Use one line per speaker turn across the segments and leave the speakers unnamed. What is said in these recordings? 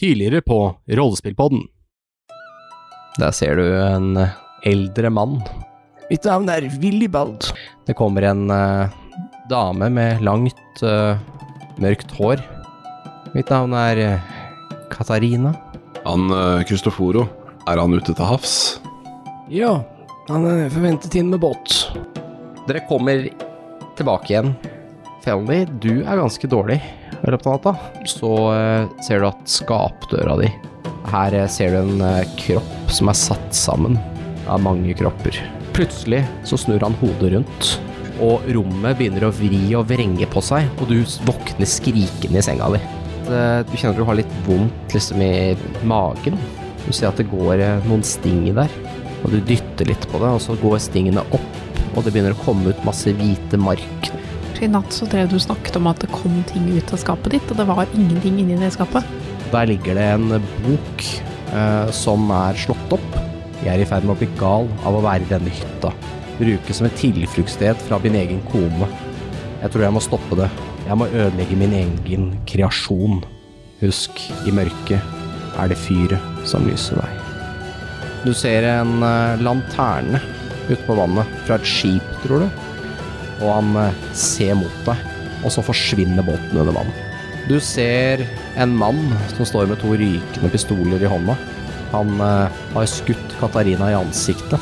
tidligere på Rollespillpodden.
Der ser du en eh, eldre mann. Mitt navn er Willibald. Det kommer en eh, dame med langt, eh, mørkt hår. Mitt navn er eh, Katarina.
Han Kristoforo, er han ute til havs?
Ja, han er forventet inn med båt. Dere kommer tilbake igjen. Felny, du er ganske dårlig i løpet av natta. Så eh, ser du at skapdøra di Her eh, ser du en eh, kropp som er satt sammen av mange kropper. Plutselig så snur han hodet rundt, og rommet begynner å vri og vrenge på seg, og du s- våkner skrikende i senga di. Eh, Du kjenner du har litt vondt liksom i magen. Du ser at det går eh, noen sting der, og du dytter litt på det, og så går stingene opp, og det begynner å komme ut masse hvite mark.
I natt så drev du og snakket om at det kom ting ut av skapet ditt, og det var ingenting inni det skapet.
Der ligger det en bok eh, som er slått opp. Jeg er i ferd med å bli gal av å være i denne hytta. Brukes som et tilfluktssted fra min egen kone. Jeg tror jeg må stoppe det. Jeg må ødelegge min egen kreasjon. Husk, i mørket er det fyret som lyser deg. Du ser en eh, lanterne ute på vannet fra et skip, tror du. Og han eh, ser mot deg, og så forsvinner båten under vann. Du ser en mann som står med to rykende pistoler i hånda. Han eh, har skutt Katarina i ansiktet.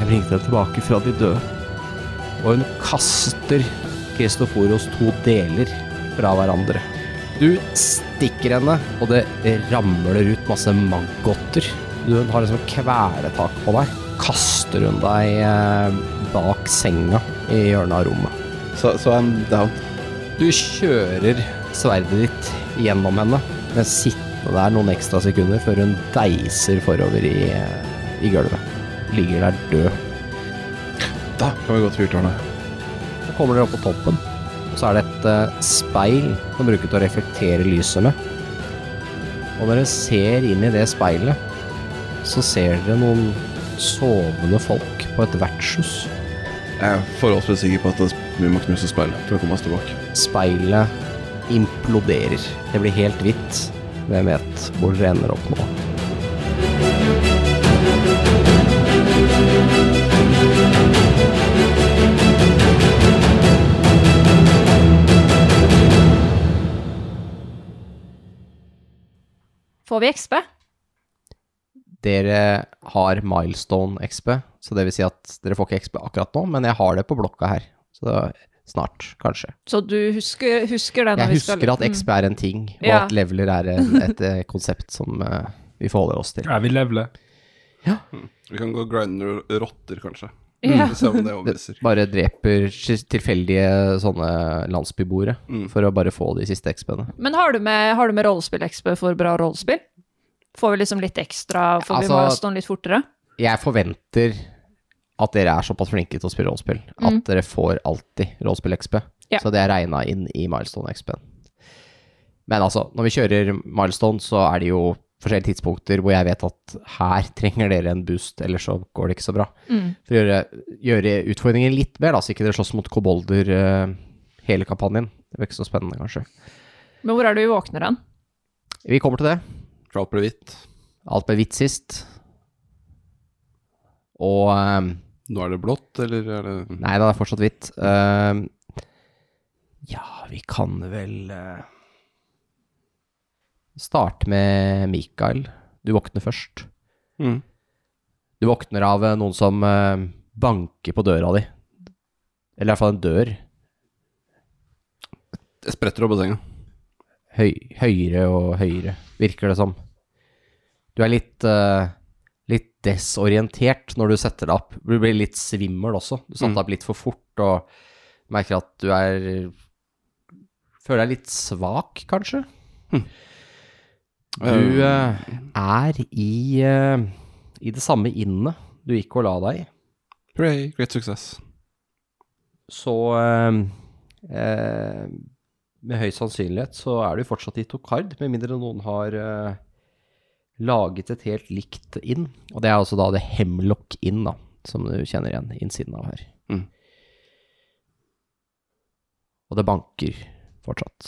Jeg bringte henne tilbake fra de døde. Og hun kaster Kristoforos to deler fra hverandre. Du stikker henne, og det ramler ut masse maggoter. Du- Hun har liksom kveletak på deg. Kaster hun deg eh, bak senga i hjørnet av rommet.
Så, så I'm down.
Du kjører sverdet ditt gjennom henne, men sittende der noen ekstra sekunder før hun deiser forover i, i gulvet. Ligger der død.
Da kan vi gå til fyrtårnet.
Så kommer dere opp på toppen, og så er det et eh, speil som brukes til å reflektere lyset med. Og når dere ser inn i det speilet, så ser dere noen sovende folk på et vertshus.
Jeg er forholdsvis sikker på at det- vi må knuse speilet for å komme oss tilbake.
Speilet imploderer. Det blir helt hvitt. Hvem vet hvor dere ender opp nå?
Får vi XP?
Dere har milestone XP, så det vil si at dere får ikke XP akkurat nå, men jeg har det på blokka her. Så snart, kanskje.
Så du husker, husker det? når
Jeg
vi skal-
husker at
Mm.
XP er en ting, og
Ja.
at leveler er en- et eh, konsept som eh, vi forholder oss til.
Er vi levele?
Vi kan gå grinder rotter, kanskje. Mm.
Ja.
Se om det overbeviser.
Det bare dreper tilfeldige sånne landsbyboere
Mm.
for å bare få de siste XP-ene.
Men har du med, har du med rollespill-XP for bra rollespill? Får vi liksom litt ekstra, får vi
Altså-
milestone litt fortere?
Jeg forventer at dere er såpass flinke til å spille rollespill at
Mm.
dere får alltid rollespill-XP.
Ja.
Så det er regna inn i milestone-XP-en. Men altså, når vi kjører milestone, så er det jo forskjellige tidspunkter hvor jeg vet at her trenger dere en boost, ellers så går det ikke så bra.
Mm.
For å gjøre, gjøre utfordringen litt mer, da, så ikke dere slåss mot kobolder eh, hele kampanjen. Det blir ikke så spennende, kanskje.
Men hvor er det vi våkner hen?
Vi kommer til det.
For alt ble hvitt.
Alt ble hvitt sist. Og eh,
Nå er det blått, eller er det
Nei, det er fortsatt hvitt. Ehm, ja, vi kan vel eh, Starte med Mikael. Du våkner først.
Mm.
Du våkner av eh, noen som eh, banker på døra di. Eller i hvert fall en dør.
Jeg spretter opp av senga.
Høy, høyere og høyere, virker det som. Du er litt, eh, litt desorientert når du setter deg opp. Du blir litt svimmel også. Du satte deg opp litt for fort og merker at du er Føler deg litt svak, kanskje. Du eh, er i, eh, i det samme innet du gikk og la deg i.
Hooray, great success.
Så eh, eh, med høy sannsynlighet så er du fortsatt i tokard, med mindre noen har eh, laget et helt likt inn. Og det er altså da det hemlock inn, da, som du kjenner igjen innsiden av her.
Mm.
Og det banker fortsatt.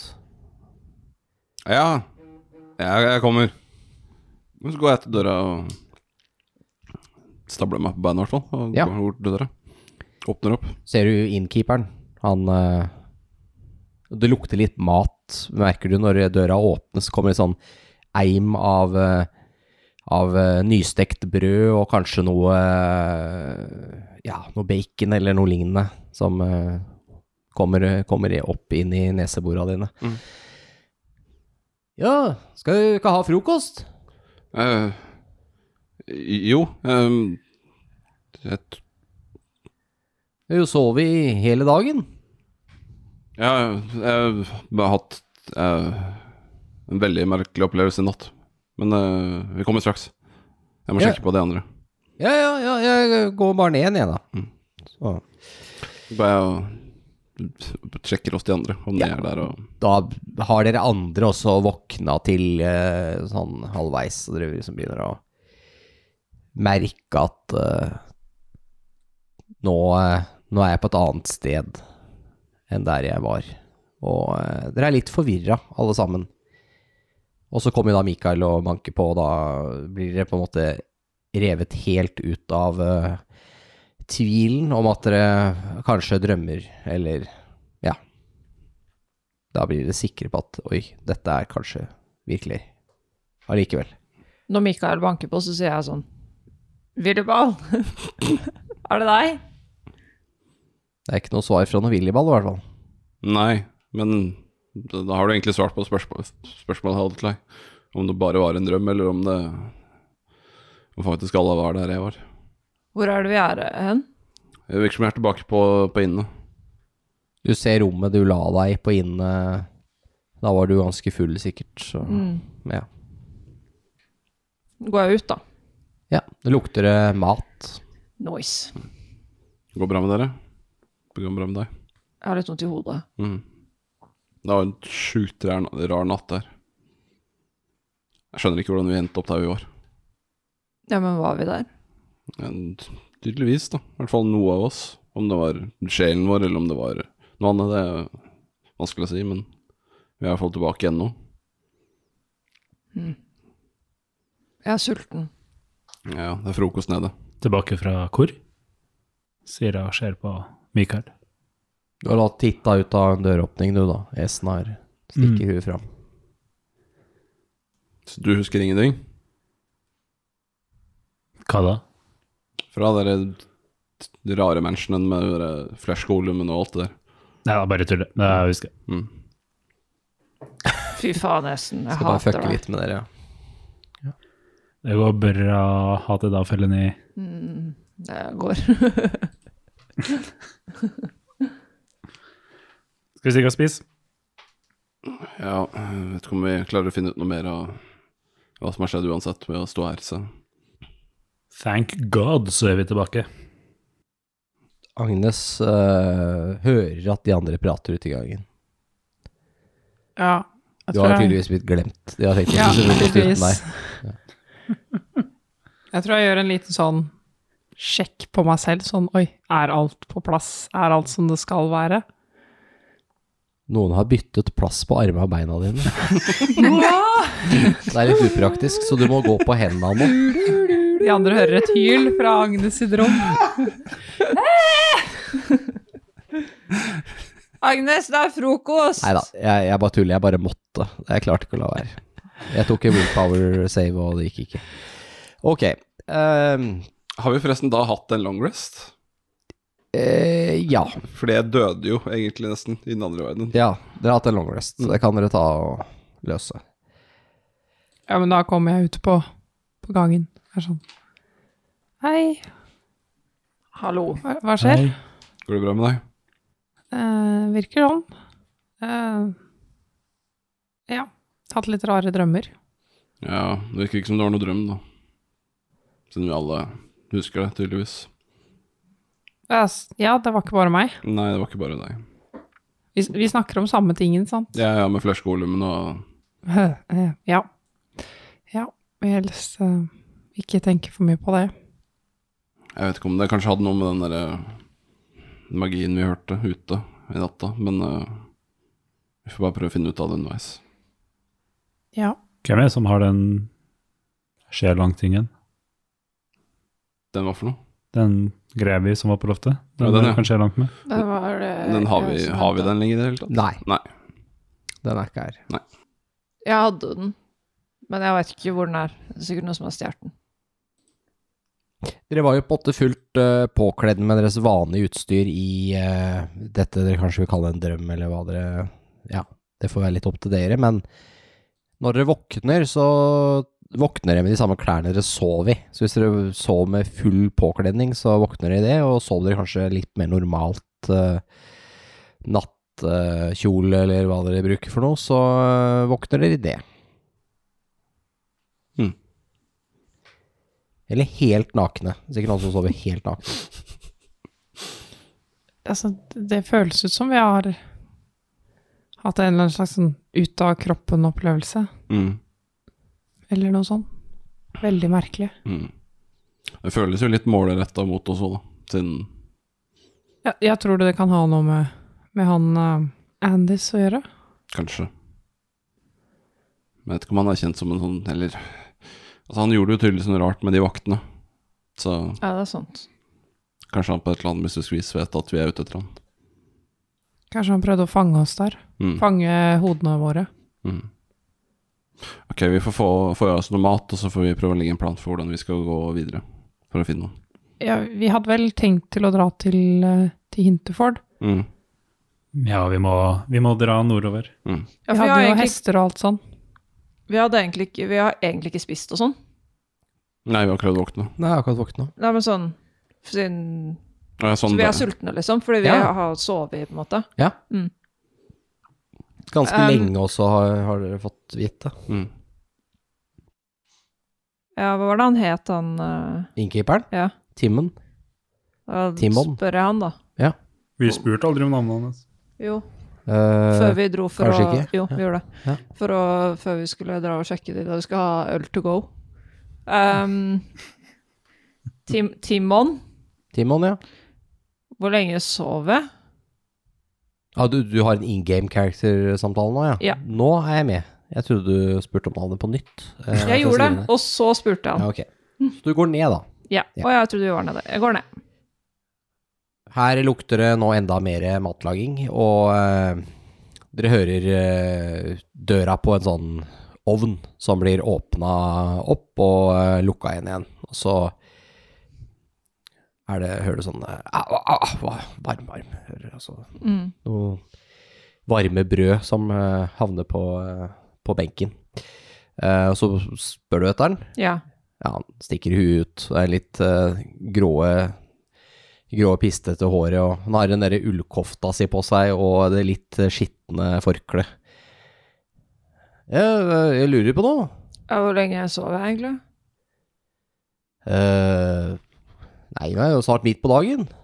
Ja, Jeg, jeg kommer. Men så går jeg til døra og stabler meg på beina, i hvert fall. Og
Ja.
går bort til døra. Åpner opp.
Ser du innkeeperen? Han eh, Det lukter litt mat, merker du, når døra åpnes. Kommer det sånn eim av, eh, av eh, nystekt brød og kanskje noe eh, Ja, noe bacon eller noe lignende som eh, kommer, kommer opp inn i neseborene dine. Ja, skal du ikke ha frokost?
Eh, jo ehm, jeg, t-
Du har jo sovet i hele dagen.
ja, jeg har hatt eh, en veldig merkelig opplevelse i natt. Men eh, vi kommer straks. Jeg må
Ja.
sjekke på de andre.
Ja, ja, ja, jeg går bare ned igjen, da. Så.
Bare jeg sjekker oss de andre, om de er der og
da har dere andre også våkna til eh, sånn halvveis, og dere liksom begynner å merke at eh, nå, eh, nå er jeg på et annet sted enn der jeg var. Og eh, dere er litt forvirra, alle sammen. Og så kommer jo da Mikael og banker på, og da blir dere på en måte revet helt ut av eh, tvilen om at dere kanskje drømmer, eller ja. Da blir dere sikre på at oi, dette er kanskje virkelig allikevel.
Når Mikael banker på, så sier jeg sånn Willibald, er det deg?
Det er ikke noe svar fra noe Willibald, i hvert fall.
Nei, men da da har du egentlig svart på spørsmål, spørsmålet jeg hadde til deg. Om det bare var en drøm, eller om det om faktisk alle var der jeg var.
Hvor er det vi er eh, hen?
Det virker som jeg er tilbake på, på inne.
Du ser rommet du la deg på inne Da var du ganske full, sikkert. Så
Mm.
ja.
Går jeg Mm. ut, da?
ja. Det lukter eh, mat.
Noise.
Går det bra med dere? Det går bra med deg? Mm.
Jeg har litt vondt i hodet.
Det var en sjukt rar, rar natt der. Jeg skjønner ikke hvordan vi endte opp der vi var.
Ja, men var vi der?
Men tydeligvis, da. I hvert fall noe av oss. Om det var sjelen vår, eller om det var noe annet, det er vanskelig å si, men vi er i hvert fall tilbake igjen nå.
Jeg er sulten.
Ja, det er frokost nede.
Tilbake fra hvor? Sier jeg og ser på Mikael.
Du har da titta ut av en døråpning, du, da. Esnar stikker huet fram.
Så du husker ingenting?
Hva da?
Fra dere de rare menneskene med dere flashkolummen og alt det der. Mm.
Nei, jeg bare tuller. Det er- jeg husker.
Fy faen, Esen. Jeg
Skal bare
hater
fucke
deg.
litt med dere. ja.
Det går bra. Ha det da, Felleny.
Mm. Det går.
Skal vi stikke og spise?
Ja, jeg vet ikke om vi klarer å finne ut noe mer av hva som har skjedd uansett ved å stå her, så
Thank God, så er vi tilbake.
Agnes eh, hører at de andre prater ute i gangen.
Ja. Jeg
Du har tydeligvis blitt glemt. De har tenkt ja,
Ja,
uten deg.
tydeligvis. Jeg tror jeg gjør en liten sånn sjekk på meg selv, sånn oi, er alt på plass? Er alt som det skal være?
Noen har byttet plass på armene og beina dine. det er litt upraktisk, så du må gå på hendene nå.
De andre hører et hyl fra Agnes sitt rom.
Agnes, det er frokost!
Nei da, jeg, jeg bare tuller. Jeg bare måtte. Jeg klarte ikke å la være. Jeg tok en willpower save, og det gikk ikke. Ok. ehm,
Har vi forresten da hatt en long rest?
eh, ja.
Fordi jeg døde jo egentlig nesten i den andre verdenen.
Ja, dere har hatt en long rest. så Det kan dere ta og løse.
Ja, men da kommer jeg ut på, på gangen. Er sånn. Hei,
Hallo.
hva, hva skjer?
Hei.
Går det bra med deg?
Eh, virker sånn. Eh, ja. Hatt litt rare drømmer.
Ja, det virker ikke som det var noe drøm, da. Siden vi alle husker det, tydeligvis.
Ja, s- Ja, det var ikke bare meg.
Nei, det var ikke bare deg.
Vi, vi snakker om samme tingen, sant?
Ja, ja, med flashkolummen og
Eh, ja. Ja, vi helst eh, ikke tenke for mye på det.
Jeg vet ikke om det kanskje hadde noe med den derre magien vi hørte ute i natta, men eh, vi får bare prøve å finne ut av det underveis.
Ja.
Hvem er det som har den sjelangtingen?
Den var for noe?
Den greia vi som var på loftet? Den,
Ja, den, ja.
kan skje langt med.
Det var det
Den har, vi,
Eh, jeg som
har vi
hadde.
den lenger i det hele tatt?
Nei.
Nei.
Den er ikke her.
Jeg hadde den, men jeg vet ikke hvor den er. Det er sikkert noen som har stjålet den.
Dere var jo på åtte fullt eh, påkledd med deres vanlige utstyr i eh, dette dere kanskje vil kalle en drøm, eller hva dere Ja, det får være litt opp til dere, men når dere våkner, så våkner dere med de samme klærne dere sov i. Så hvis dere sov med full påkledning, så våkner dere i det, og sov dere kanskje litt mer normalt eh, nattkjole, eller hva dere bruker for noe, så eh, våkner dere i det. Eller helt nakne. Sikkert noen som sover helt nakne.
Altså, det føles ut som vi har hatt en eller annen slags sånn ut-av-kroppen-opplevelse,
Mm.
eller noe sånt. Veldig merkelig.
Mm. Det føles jo litt målretta mot oss òg, da. Siden
Jeg, jeg tror det kan ha noe med, med han eh, Andis å gjøre.
Kanskje. Jeg vet ikke om han er kjent som en sånn Eller Altså, han gjorde jo tydeligvis noe rart med de vaktene. Så
Ja, det er sant.
kanskje han på et eller annet mystisk vis vet at vi er ute etter han.
Kanskje han prøvde å fange oss der.
Mm.
Fange hodene våre.
Mm. Ok, vi får få, få i oss noe mat, og så får vi prøve å legge en plan for hvordan vi skal gå videre for å finne noen.
Ja, vi hadde vel tenkt til å dra til, eh, til Hinterford.
Mm.
Ja, vi må, vi må dra nordover.
Mm.
Ja,
Vi
for vi,
hadde
har
jo
egentlig,
hester og alt sånn.
vi, hadde egentlig ikke, vi har egentlig ikke spist og sånn.
Nei, vi har prøvd å våkne.
Nei, jeg har akkurat våkna.
Nei, men sånn, siden,
Ja,
Så
sånn
vi er
det.
sultne, liksom, fordi vi
Ja.
har sovet, på en måte.
Ganske
Um,
lenge også har, har dere fått vite.
Mm.
Ja, hva var det han het, han eh,
Innkeeperen?
Ja.
Timmen?
da
Timon.
eh, Spør jeg han, da.
Vi spurte aldri om navnet hans.
Jo,
Eh,
før vi dro for å
kanskje ikke?
Jo,
Ja.
vi gjorde det.
Ja.
For å, før vi skulle dra og sjekke de da vi skal ha øl to go. Um, Tim, Timon,
Timon, ja.
hvor lenge sov jeg?
Ah, du, du har en in game character-samtale nå, ja.
Ja.
Nå er jeg med. Jeg trodde du spurte om navnet på nytt. Eh, så
Jeg gjorde
sier
det, og så spurte
Ja,
han.
ok. Så du går ned, da.
Ja,
Ja.
og jeg trodde vi var nede. Jeg går ned.
Her lukter det nå enda mer matlaging, og eh, dere hører eh, døra på en sånn ovn som blir åpna opp og eh, lukka igjen igjen. Og så er det, hører du sånn eh, au, au, au, hva- varm, varm. Hører altså
Mm.
noe varme brød som eh, havner på, eh, på benken. Eh, og så spør du etter den,
Ja.
ja, han stikker huet ut. Det er litt eh, gråe, grå pistete håret, og han har den derre ullkofta si på seg og det litt eh, skitne forkleet. Jeg, jeg lurer på noe.
Ja, Hvor lenge sov jeg egentlig?
Eh, nei, det er jo snart midt på dagen.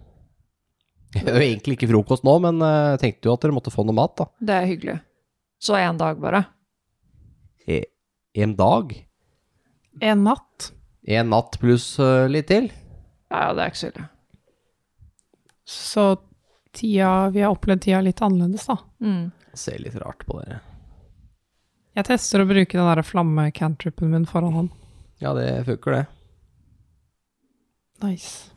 Det er jo egentlig ikke frokost nå, men eh, jeg tenkte jo at dere måtte få noe mat, da.
Det er hyggelig. Så én dag, bare.
E- En dag?
En natt.
En natt pluss eh, litt til?
Ja, ja, det er ikke så ille.
Så tida, vi har opplevd tida litt annerledes, da.
Mm.
Ser litt rart på dere.
Jeg tester å bruke den der flamme-cantripen min foran han.
Ja, det funker, det.
Nice.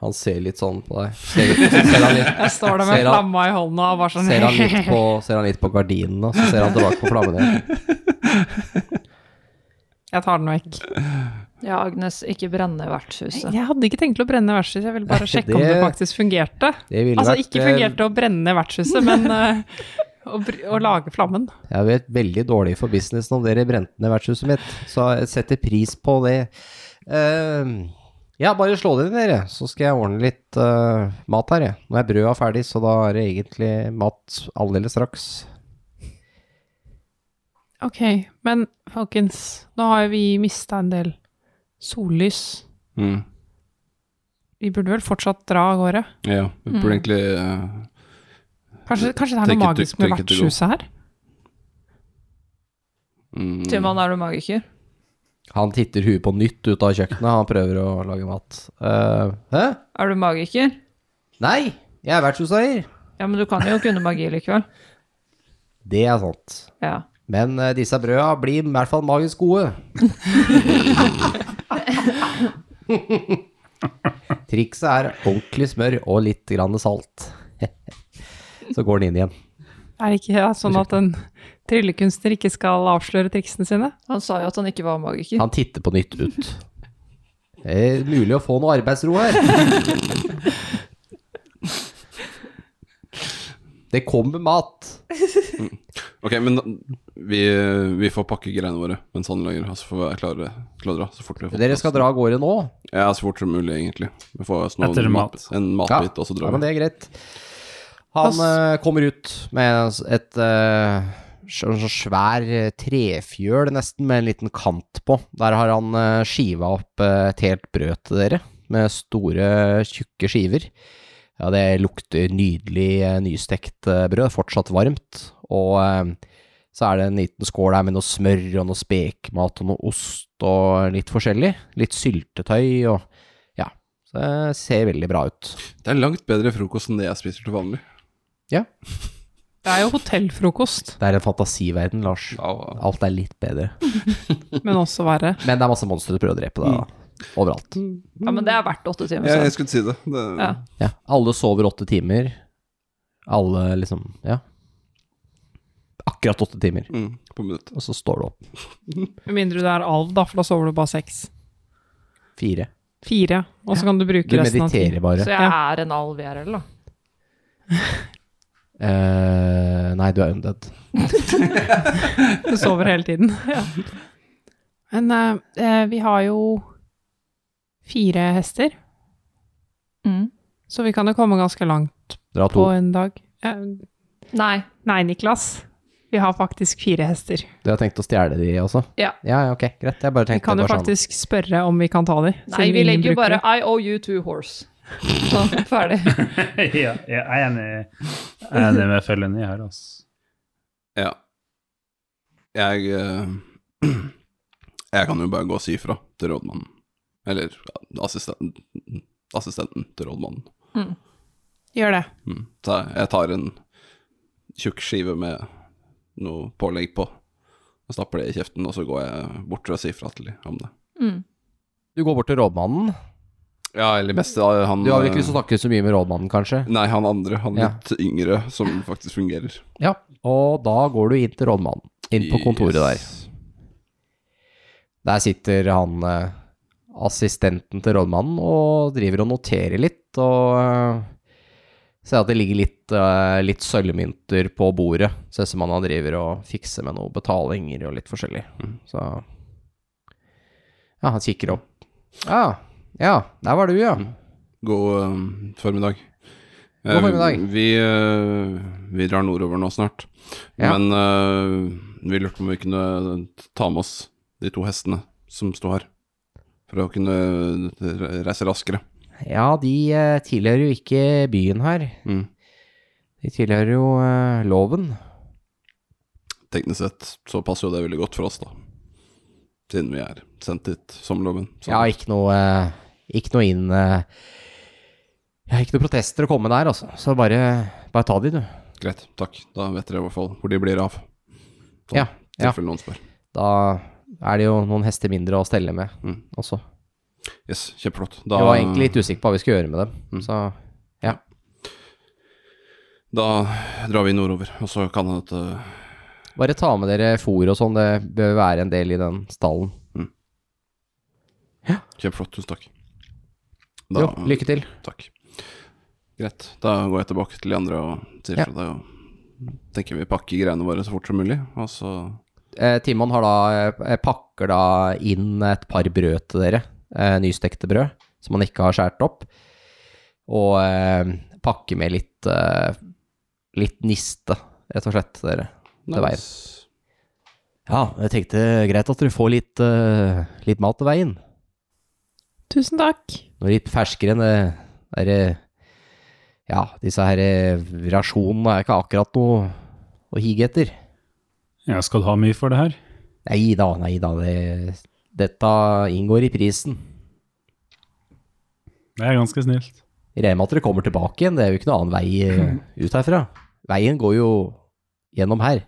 Han ser litt sånn på deg. Ser, ser han litt
Jeg står der
Ser
med
han-
flamma i hånda og bare sånn
Ser han litt på, ser han litt på gardinene, og så ser han tilbake på flammene.
Jeg tar den vekk.
Ja, Agnes, ikke brenne vertshuset.
Jeg hadde ikke tenkt til å brenne vertshuset, jeg ville bare sjekke om det
Det-
faktisk fungerte.
Det ville
Altså,
vært,
ikke
eh,
fungerte å brenne vertshuset, men eh, å, br- å lage flammen.
Jeg vet veldig dårlig for businessen om dere brente ned vertshuset mitt, så jeg setter pris på det. Eh, ja, bare slå det inn, dere, så skal jeg ordne litt eh, mat her, jeg. Nå er brødet ferdig, så da er det egentlig mat aldeles straks.
Ok, men folkens, nå har jo vi mista en del sollys.
Mm.
Vi burde vel fortsatt dra av gårde?
Ja, vi burde
Mm.
egentlig eh,
Kanskje, kanskje det er
Take it
noe
to-
magisk med
take it to go.
vertshuset her?
mm,
Timon, er du magiker?
Han titter huet på nytt ut av kjøkkenet, han prøver å lage mat. Eh, hæ?
Er du magiker?
Nei, jeg er vertshuseier.
Ja, men du kan jo kunne magi likevel.
Det er sant.
Ja.
Men eh, disse brøda blir i hvert fall magisk gode. Trikset er ordentlig smør og litt grann salt. Så går den inn igjen.
Er det ikke sånn at en tryllekunstner ikke skal avsløre triksene sine?
Han sa jo at han ikke var magiker.
Han titter på nytt ut. Det er mulig å få noe arbeidsro her. Det kommer mat.
Ok, men da, vi, vi får pakke greiene våre mens han lager, og så får vi være klare til å dra. Så fort vi har fått
Dere skal dra av gårde nå.
Ja, så fort som mulig, egentlig. Vi får oss
Etter
noen
mat.
mat, en matbit, og så
ja,
drar
men
vi.
det er greit. Han eh, kommer ut med et eh, så så svær eh, trefjøl nesten, med en liten kant på. Der har han eh, skiva opp eh, et helt brød til dere, med store, tjukke skiver. Ja, det lukter nydelig eh, nystekt eh, brød, fortsatt varmt. Og eh, så er det en liten skål der med noe smør og noe spekemat og noe ost og litt forskjellig. Litt syltetøy og ja, så det ser veldig bra ut.
Det er langt bedre frokost enn det jeg spiser til vanlig.
Det er jo hotellfrokost,
Det er en fantasiverden, Lars.
Ja,
Alt er litt bedre.
men også verre.
Men det er masse monstre du prøver å drepe deg, da.
Mm.
Overalt.
Ja, men det er verdt åtte timer.
jeg,
Så.
jeg skulle si det. det
Ja.
Ja. Alle sover åtte timer. Alle liksom Ja. Akkurat åtte timer.
mm, på minuttet.
Og så står du opp.
Med mindre du er alv, da, for da sover du bare seks.
Fire.
Fire, og så kan du bruke
Du
resten av tiden.
mediterer bare.
så jeg er en alv, jeg er eller? da.
Eh, nei, du er undead.
Du sover hele tiden. Men eh, eh, vi har jo fire hester,
Mm.
så vi kan jo komme ganske langt
Dere har
på
to.
en dag. Eh,
Nei.
nei, Niklas. Vi har faktisk fire hester.
Dere har tenkt å stjele de også?
Ja.
ja. ja, Ok, greit. Jeg bare
Vi
tenkte
kan jo
bare sånn.
faktisk spørre om vi kan ta de.
Nei,
siden
vi
ingen
legger jo
bruker
bare
de.
IOU to horse. Så, ferdig.
ja, jeg er enig, jeg er enig med fellene her, altså.
Ja. Jeg eh, Jeg kan jo bare gå og si fra til rådmannen. Eller ja, assistenten, assistenten til rådmannen.
Gjør det.
Mm. Ta, jeg tar en tjukk skive med noe pålegg på, og stapper det i kjeften, og så går jeg bort til å si fra til dem om det.
Du går bort til rådmannen.
Ja, eller mest da, han eh,
Du har vel ikke
Mm.
lyst til å snakke så mye med rådmannen, kanskje?
Nei, han andre, han
Ja.
litt yngre, som faktisk fungerer.
Ja. Og da går du inn til rådmannen. Inn på kontoret der.
Yes.
Der sitter han eh, assistenten til rådmannen og driver og noterer litt, og eh, ser at det ligger litt, eh, litt sølvmynter på bordet. Ser ut som han driver og fikser med noen betalinger og litt forskjellig. Så Ja, han kikker opp. Ja, ja, der var du, ja.
God eh, formiddag.
God
Eh,
formiddag.
Vi, eh, vi drar nordover nå snart,
Ja.
men eh, vi lurte på om vi kunne ta med oss de to hestene som sto her, for å kunne re- reise raskere.
Ja, de eh, tilhører jo ikke byen her.
Mm.
De tilhører jo eh, loven.
Teknisk sett så passer jo det veldig godt for oss, da. Siden vi er sendt hit som loven. Så-
Ja, ikke noe eh, Ikke noe inn eh, Ja, ikke noe protester å komme der, altså. Så bare, bare ta de, du.
Greit, takk. Da vet dere i hvert fall hvor de blir av. Sånn,
Ja,
I
ja.
tilfelle noen spør.
Da er det jo noen hester mindre å stelle med
Mm.
også.
Yes, kjempeflott.
Jeg
Da, Mm.
var egentlig litt usikker på hva vi skulle gjøre med dem, så
da drar vi nordover, og så kan det at
bare ta med dere fôr og sånn. Det bør være en del i den stallen.
Kjempeflott, tusen takk. Da-
Jo, lykke til.
Takk. Greit. Da går jeg tilbake til de andre og sier
Ja.
fra deg, og tenker vi pakker greiene våre så fort som mulig, og så
Eh, Timon har da, eh, pakker da inn et par brød til dere. Eh, nystekte brød, som han ikke har skåret opp. Og eh, pakker med litt, eh, litt niste, rett og slett, til dere. Til veien.
Nice.
Ja, jeg tenkte greit at dere får litt, eh, litt mat til veien.
Tusen takk.
Noe litt ferskere enn det derre Ja, disse her eh, rasjonene er ikke akkurat noe å hige etter.
Ja, skal du ha mye for det her?
Nei da, nei da. Det, dette inngår i prisen.
Det er ganske snilt.
Jeg Regner med at dere kommer tilbake igjen. Det er jo ikke noen annen vei eh, ut herfra. Veien går jo gjennom her.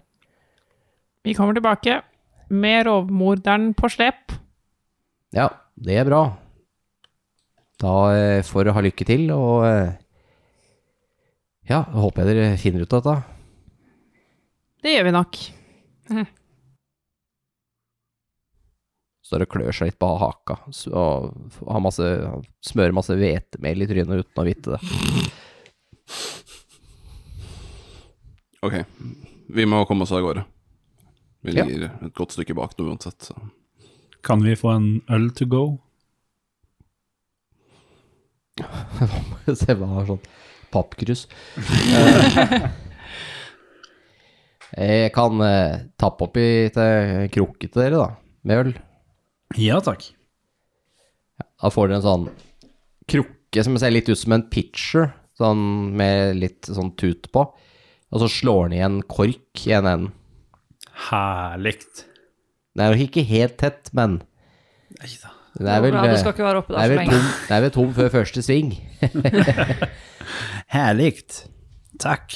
Vi kommer tilbake med rovmorderen på slep.
Ja, det er bra. Da eh, får dere ha lykke til, og eh, ja, håper jeg dere finner ut av dette.
Det gjør vi nok.
Så dere klør seg litt på haka s- og f- har masse, smører masse hvetemel i trynet uten å vite det.
Ok, vi må komme oss av gårde. Vi
Ja.
ligger et godt stykke bak nå uansett, så
Kan vi få en øl to go?
Se hva han har sånn pappkrus. Eh, Jeg kan eh, tappe oppi til krukket til dere, da, med øl.
Ja takk.
Da får dere en sånn krukke som ser litt ut som en pitcher, sånn med litt sånn tut på. Og så slår den i en kork i en enden.
Herlig.
Den er jo ikke helt tett, men
Nei da.
den er vel,
Bra, du skal
eh,
ikke være oppe
den
der
er
så
vel,
lenge.
tom, den er vel tom før første sving.
Herlig. Takk.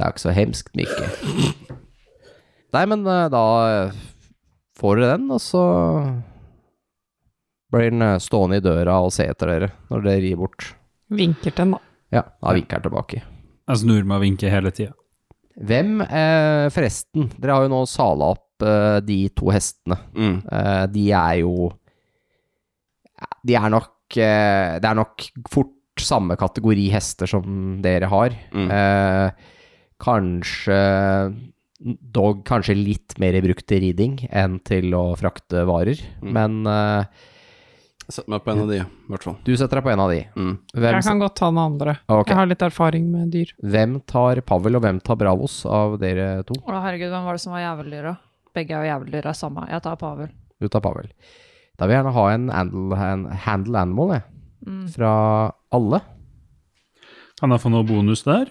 Det er ikke så hemskt, Mikke. Nei, men eh, da eh, får dere den, og så blir den eh, stående i døra og se etter dere når dere rir bort.
Vinker til den, da.
Ja, da vinker den tilbake.
Jeg snur meg og vinker hele tida.
Hvem, eh, forresten, dere har jo nå sala opp eh, de to hestene.
mm.
Eh, de er jo De er nok eh, Det er nok fort samme kategori hester som dere har.
Mm.
Eh, kanskje Dog kanskje litt mer i bruk til riding enn til å frakte varer.
Mm.
Men eh,
Sett meg på en av de, i hvert fall.
du setter deg på en av de.
Mm.
Hvem, Ah,
Jeg kan godt ta den andre.
Ok.
Jeg har litt erfaring med dyr.
hvem tar Pavel, og hvem tar Bravos av dere to?
Å, herregud, hvem var det som var jæveldyra? Begge er jo jæveldyra, samme. Jeg tar Pavel.
Du tar Pavel. Da vil jeg gjerne ha en handle, en handle animal, jeg. Fra alle.
Kan jeg få noe bonus der?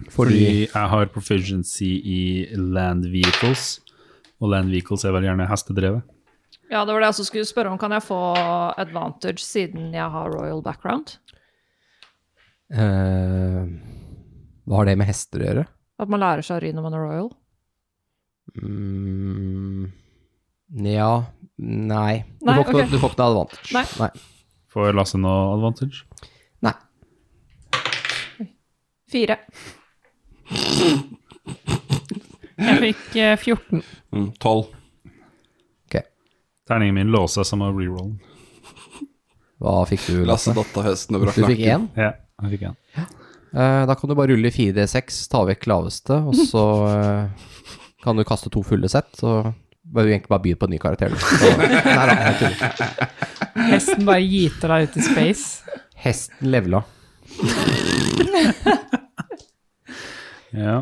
Fordi
Fordi
jeg har proficiency i land vehicles, og land vehicles er vel gjerne hestedrevet.
Ja, det var det jeg også skulle spørre om. Kan jeg få advantage siden jeg har royal background?
Eh, Hva har det med hester å gjøre?
At man lærer seg å ri når man er royal?
Mm, ja Nei. Du,
Nei,
får ikke,
ok.
du får ikke noe advantage.
Nei.
Får Lasse noe advantage?
Nei.
Fire.
Jeg fikk eh, 14.
Mm. 12.
Terningen min låser som av rerollen.
Hva fikk du,
Lasse
Lasse?
datt av hesten og brakk
Du fikk
nakken.
én.
Ja, jeg fikk en.
Eh, da kan du bare rulle 4D6, ta vekk laveste, og så eh, kan du kaste to fulle sett. Så bør du egentlig bare begynne på en ny karakter. du. Så, nei da, jeg tuller.
Hesten bare giter deg ut i space.
Hesten levela.
Ja.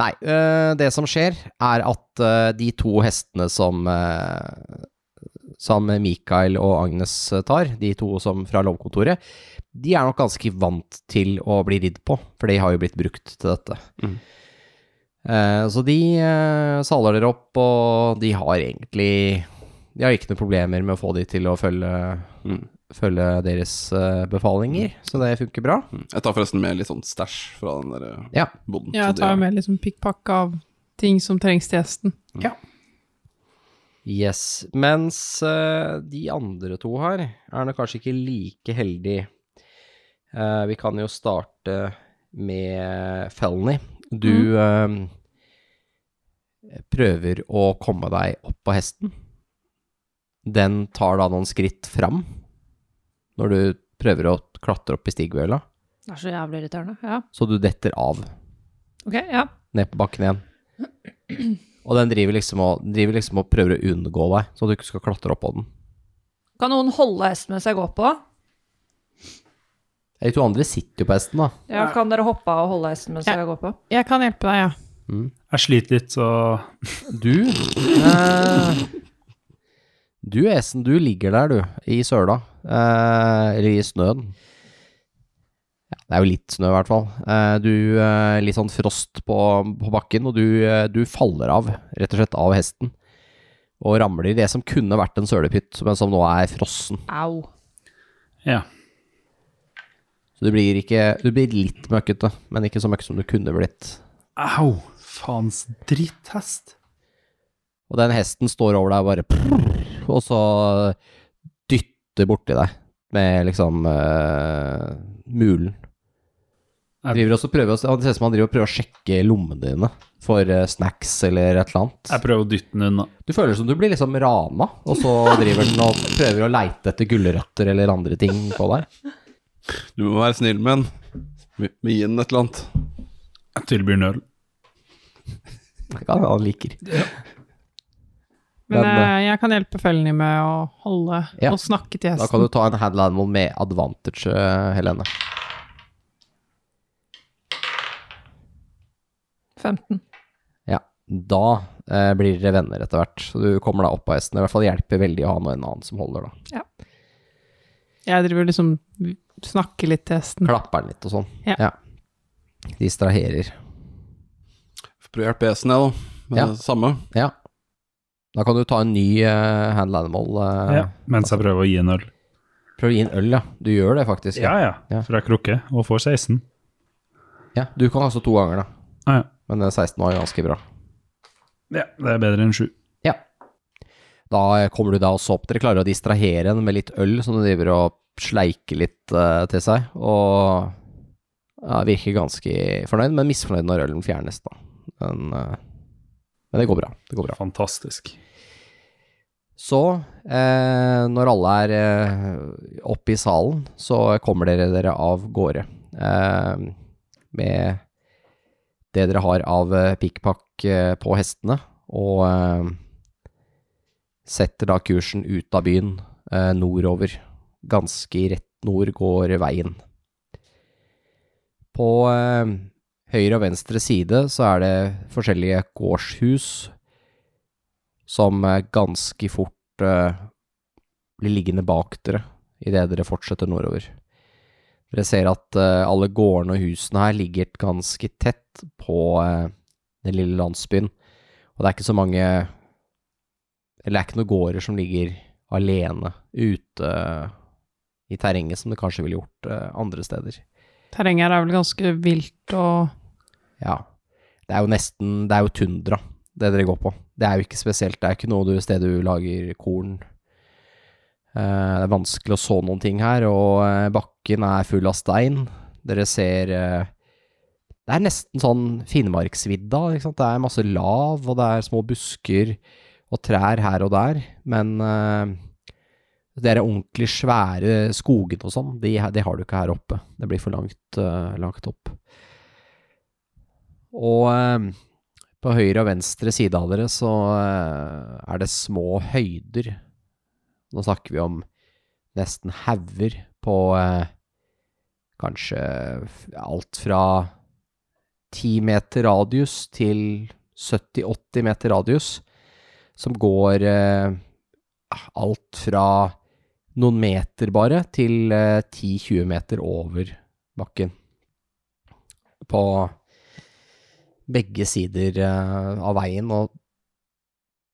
Nei, øh, det som skjer er at øh, de to hestene som, øh, som Mikael og Agnes tar, de to som fra lovkontoret, de er nok ganske vant til å bli ridd på, for de har jo blitt brukt til dette.
Mm.
Eh, så de øh, saler dere opp, og de har egentlig De har ikke noen problemer med å få de til å følge,
Mm.
følge deres øh, befalinger, så det funker bra.
Mm. Jeg tar forresten med litt sånn stæsj fra den der eh,
Ja.
boden.
Ja,
så
jeg
det
tar
er-
jo med liksom pikkpakk av ting som trengs til hesten.
Yes. Mens eh, de andre to her er nok kanskje ikke like heldige. Eh, vi kan jo starte med Felny. Du eh, prøver å komme deg opp på hesten. Den tar da noen skritt fram når du prøver å klatre opp i stigvøla,
Det er så jævlig irriterende. Ja.
så du detter av
Ok, ja.
ned på bakken igjen. Og den driver liksom og, den driver liksom og prøver å unngå deg, så du ikke skal klatre opp på den.
Kan noen holde hesten mens jeg går på?
De to andre sitter jo på hesten, da.
Ja, kan dere hoppe av og holde hesten mens
Ja.
jeg går på?
Jeg kan hjelpe deg, ja.
Jeg sliter litt, så
Du eh, Du, Esen, du ligger der, du. I søla. Eh, eller i snøen. Ja, det er jo litt snø, i hvert fall. Eh, du eh, Litt sånn frost på, på bakken, og du, eh, du faller av, rett og slett, av hesten. Og ramler i det som kunne vært en sølepytt, men som nå er frossen.
Au.
ja.
Så du blir, ikke, du blir litt møkkete, men ikke så møkk som du kunne blitt.
Au! faens dritthest.
Og den hesten står over deg og bare prrr, Og så dytter borti deg med liksom eh, mulen.
Jeg-
Driver også og prøver, å- det ser ut som han driver og prøver å sjekke lommene dine for eh, snacks eller et eller
Jeg
annet.
prøver å dytte den unna.
Du føler som du blir liksom rana, og så driver den og prøver å leite etter gulrøtter eller andre ting på deg.
Du må være snill med den. Vi gir den et eller annet.
Jeg tilbyr den øl.
Ja, han liker.
Men
Men,
eh, jeg kan hjelpe fellene med å holde
Ja.
og snakke til
Da kan
hesten.
du ta en handle animal med advantage, eh, Helene.
15.
Ja, da eh, blir dere venner etter hvert. Så du kommer deg opp av hesten. I hvert fall hjelper veldig å ha noen annen som holder, da.
Jeg driver liksom snakker litt til
Mm.
hesten.
Klapper den litt og sånn.
Ja.
Distraherer.
Får prøve å hjelpe hesten, jeg, da. Med
Ja.
det samme.
Ja. Da kan du ta en ny eh, handle animal. eh,
Ja. Mens jeg prøver å gi en øl.
Prøv å gi en øl, ja. Du gjør det faktisk.
Ja, ja.
Ja.
For jeg krukker og får 16.
Ja, Du kan altså to ganger, da.
Ah, ja.
Men eh, 16 var jo ganske bra.
ja, det er bedre enn 7.
Ja. Da eh, kommer du deg også opp. Dere klarer å distrahere henne med litt øl som du driver og sleiker litt eh, til seg, og ja, virker ganske fornøyd, men misfornøyd når ølen fjernes, da. Men, eh, men det går bra. Det går bra.
Fantastisk.
Så, eh, når alle er eh, oppe i salen, så kommer dere dere av gårde eh, med det dere har av eh, pikkpakk eh, på hestene, og eh, setter da kursen ut av byen eh, nordover. Ganske i rett nord går veien. På eh, høyre og venstre side så er det forskjellige gårdshus, som eh, ganske fort eh, blir liggende bak dere idet dere fortsetter nordover. Dere ser at eh, alle gårdene og husene her ligger ganske tett på eh, den lille landsbyen, og det er ikke så mange Eller det er ikke noen gårder som ligger alene ute eh, i terrenget som det kanskje ville gjort eh, andre steder.
Terrenget her er vel ganske vilt og
Ja. Det er jo nesten Det er jo tundra, det dere går på. Det er jo ikke spesielt. Det er ikke noe du, sted du lager korn. Eh, det er vanskelig å så noen ting her, og eh, bakken er full av stein. Dere ser eh, Det er nesten sånn Finnmarksvidda, ikke sant. Det er masse lav, og det er små busker og trær her og der, men eh, de der ordentlig svære skogene og sånn, de, de har du ikke her oppe. Det blir for langt, eh, langt opp. Og eh, på høyre og venstre side av dere så eh, er det små høyder. Nå snakker vi om nesten hauger på eh, kanskje f- alt fra 10 meter radius til 70-80 meter radius, som går eh, alt fra noen meter bare til eh, 10-20 meter over bakken. På begge sider eh, av veien, og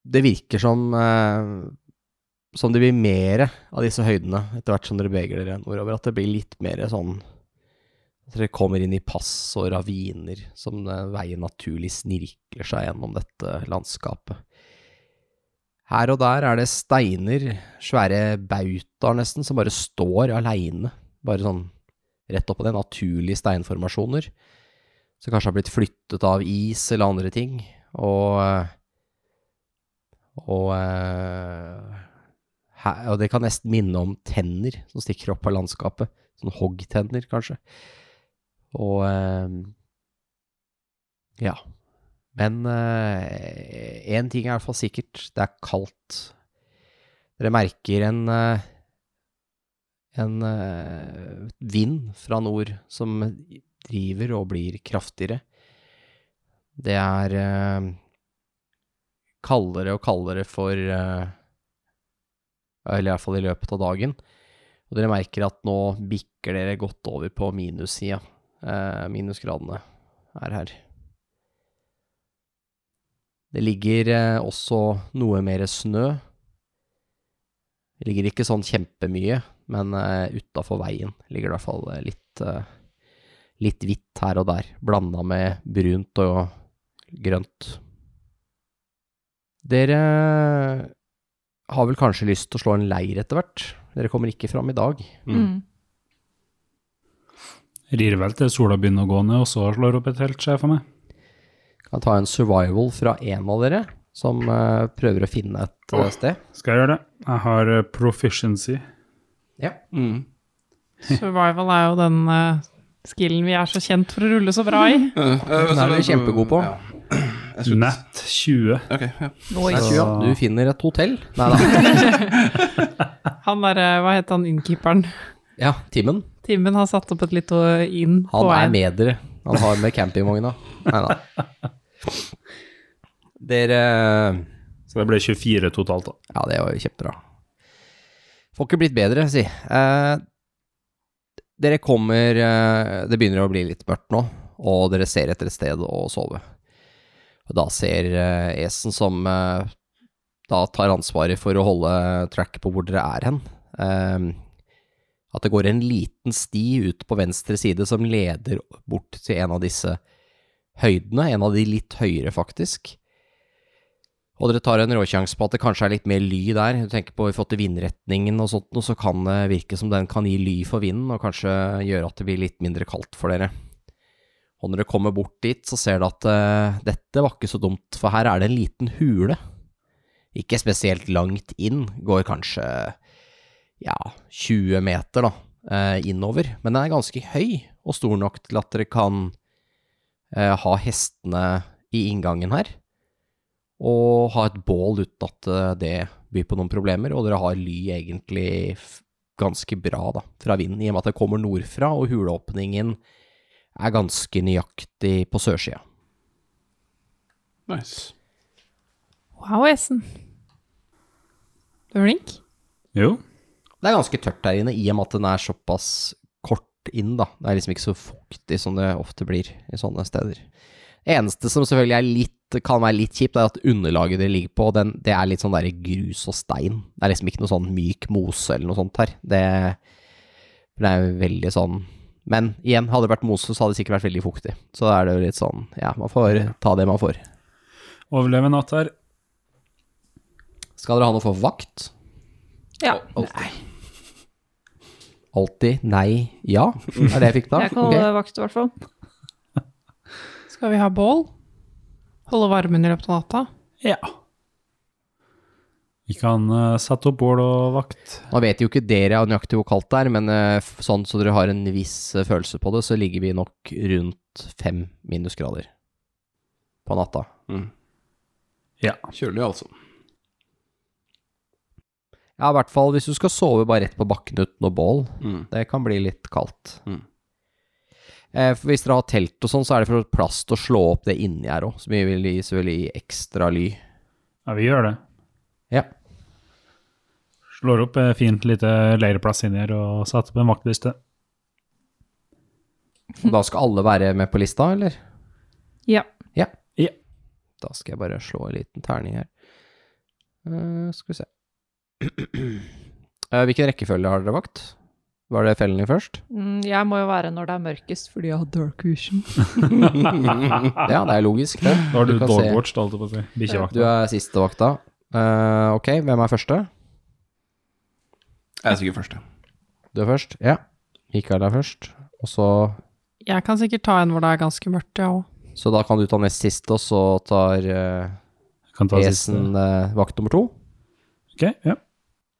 det virker som eh, som det blir mer av disse høydene etter hvert som dere beveger dere nordover, at det blir litt mer sånn at dere kommer inn i pass og raviner som eh, veien naturlig snirkler seg gjennom dette landskapet. Her og der er det steiner, svære bautaer nesten, som bare står aleine, bare sånn rett oppå det, naturlige steinformasjoner som kanskje har blitt flyttet av is eller andre ting, og eh, og, eh, her, og det kan nesten minne om tenner som stikker opp av landskapet. Sånn hoggtenner, kanskje. Og eh, ja. Men én ting er i hvert fall sikkert, det er kaldt. Dere merker en eh, en eh, vind fra nord som driver og blir kraftigere. Det er eh, kaldere og kaldere for eh, Eller i hvert fall i løpet av dagen. Og dere merker at nå bikker dere godt over på minussida. Eh, minusgradene er her. Det ligger eh, også noe mer snø. Det ligger ikke sånn kjempemye, men uh, utafor veien ligger det i hvert fall eh, litt eh, litt hvitt her og der, blanda med brunt og grønt. Dere har vel kanskje lyst til å slå en leir etter hvert? Dere kommer ikke fram i dag.
Mm.
Rir vel til sola begynner å gå ned, og så slår opp et telt, ser jeg for meg.
Kan ta en survival fra en av dere, som eh, prøver å finne et eh, sted.
Skal jeg gjøre det? Jeg har eh, proficiency.
Mm.
Survival er jo den eh, skillen vi er så kjent for å rulle så bra i.
Eh, Den
er du kjempegod på.
Jeg skulle-
Nett 20.
Ok, ja.
Nei,
Noise.
tjua, Du finner et hotell. Nei da.
Han der, eh, hva het han innkeeperen?
Ja, Timmen.
Timmen har satt opp et lite inn på
Han er
veien.
med dere. Han har med campingvogna. Nei da. Dere
Så det ble 24 totalt, da.
Ja, det var jo kjempebra. Får ikke blitt bedre, si. Eh, dere kommer eh, Det begynner å bli litt mørkt nå, og dere ser etter et sted å sove. Og da ser eh, Esen som eh, da tar ansvaret for å holde track på hvor dere er hen, eh, at det går en liten sti ut på venstre side som leder bort til en av disse høydene, en av de litt høyere, faktisk. Og dere tar en råsjanse på at det kanskje er litt mer ly der. Du tenker på i forhold til vindretningen og sånt, og så kan det virke som den kan gi ly for vinden, og kanskje gjøre at det blir litt mindre kaldt for dere. Og når dere kommer bort dit, så ser dere at eh, dette var ikke så dumt, for her er det en liten hule. Ikke spesielt langt inn, går kanskje ja, 20 meter da, eh, innover, men den er ganske høy og stor nok til at dere kan eh, ha hestene i inngangen her og ha et bål uten at eh, det byr på noen problemer, og dere har ly egentlig f- ganske bra da, fra vinden, i og med at det kommer nordfra, og huleåpningen er ganske nøyaktig på sørsida.
Nice.
Wow, Esen. Du er flink.
Jo.
Det er ganske tørt der inne, i og med at den er såpass kort inn, da. Det er liksom ikke så fuktig som det ofte blir i sånne steder. Eneste som selvfølgelig er litt, kan være litt kjipt, er at underlaget det ligger på, den, det er litt sånn der grus og stein. Det er liksom ikke noe sånn myk mose eller noe sånt her. Det, det er jo veldig sånn Men igjen, hadde det vært mose, så hadde det sikkert vært veldig fuktig. Så da er det jo litt sånn, ja, man får ta det man får.
Overleve en natt her.
Skal dere ha noe for vakt?
Ja.
Alltid nei, ja, er det jeg fikk da?
Jeg kan holde
Ok.
vakt, i hvert fall.
Skal vi ha bål? Holde varmen i løpet av natta?
Ja. Vi kan eh, sette opp bål og vakt.
Nå vet jo ikke dere nøyaktig hvor kaldt det er, men eh, f- sånn så dere har en viss eh, følelse på det, så ligger vi nok rundt fem minusgrader på natta.
Mm.
Ja.
Kjølig, altså.
Ja, i hvert fall hvis du skal sove bare rett på bakken uten noe bål.
Mm.
Det kan bli litt kaldt.
Mm.
Eh, for hvis dere har telt og sånn, så er det for å ha plass til å slå opp det inni her òg, som vi vil gi selvfølgelig ekstra ly.
Ja, vi gjør det.
Ja.
Slår opp eh, fint lite leirplass inni her og setter opp en vaktliste.
Og Da skal alle være med på lista, eller?
Ja.
Ja.
Ja.
Da skal jeg bare slå en liten terning her. Eh, skal vi se Eh, Hvilken rekkefølge har dere vakt? Var det Felny først?
Mm, Jeg må jo være når det er mørkest, fordi jeg har dark vision.
Ja, det er logisk, det.
Da Ah. har du,
Du kan se.
dogwatch, holdt jeg på å si. Bikkjevakt.
Du er siste vakta. Eh, ok, hvem er første?
Jeg er sikkert først, ja.
Du er først? Ja. Mikael er først. Og så
Jeg kan sikkert ta en hvor det er ganske mørkt, jeg òg.
Så da kan du ta nest siste, og så tar eh,
Kan ta siste.
Esen eh, vakt nummer to.
Ok, ja.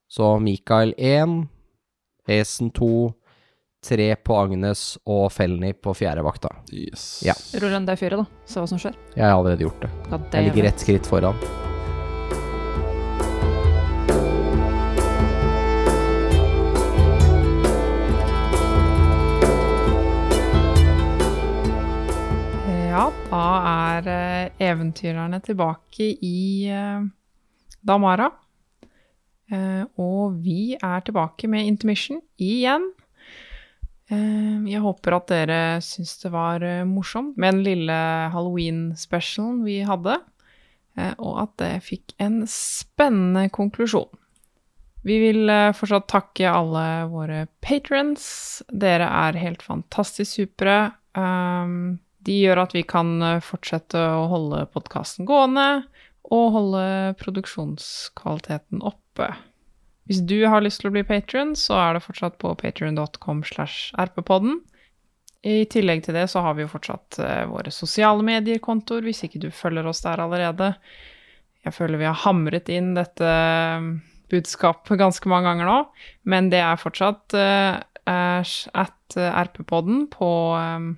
Så Mikael 1, Esen 2, 3 på Agnes og Felny på fjerde vakta.
Yes. Mm.
Ja.
Rull en D4, da. Se hva som skjer.
Jeg har allerede gjort det.
God
Jeg
damn it.
ligger ett skritt foran.
Ja, da er eh, eventyrerne tilbake i eh, Damara. Eh, og vi er tilbake med intermission igjen. Eh, jeg håper at dere syns det var eh, morsomt med den lille halloween-specialen vi hadde. eh, og at det fikk en spennende konklusjon. Vi vil eh, fortsatt takke alle våre patrons. Dere er helt fantastisk supre. Um, De gjør at vi kan eh, fortsette å holde podkasten gående og holde produksjonskvaliteten oppe. Hvis du har lyst til å bli patron, så er det fortsatt på patron.com slash rppodden. I tillegg til det så har vi jo fortsatt eh, våre sosiale medier-kontoer, hvis ikke du følger oss der allerede. Jeg føler vi har hamret inn dette ehm, budskapet ganske mange ganger nå, men det er fortsatt eh, æsj at eh, rppodden på eh,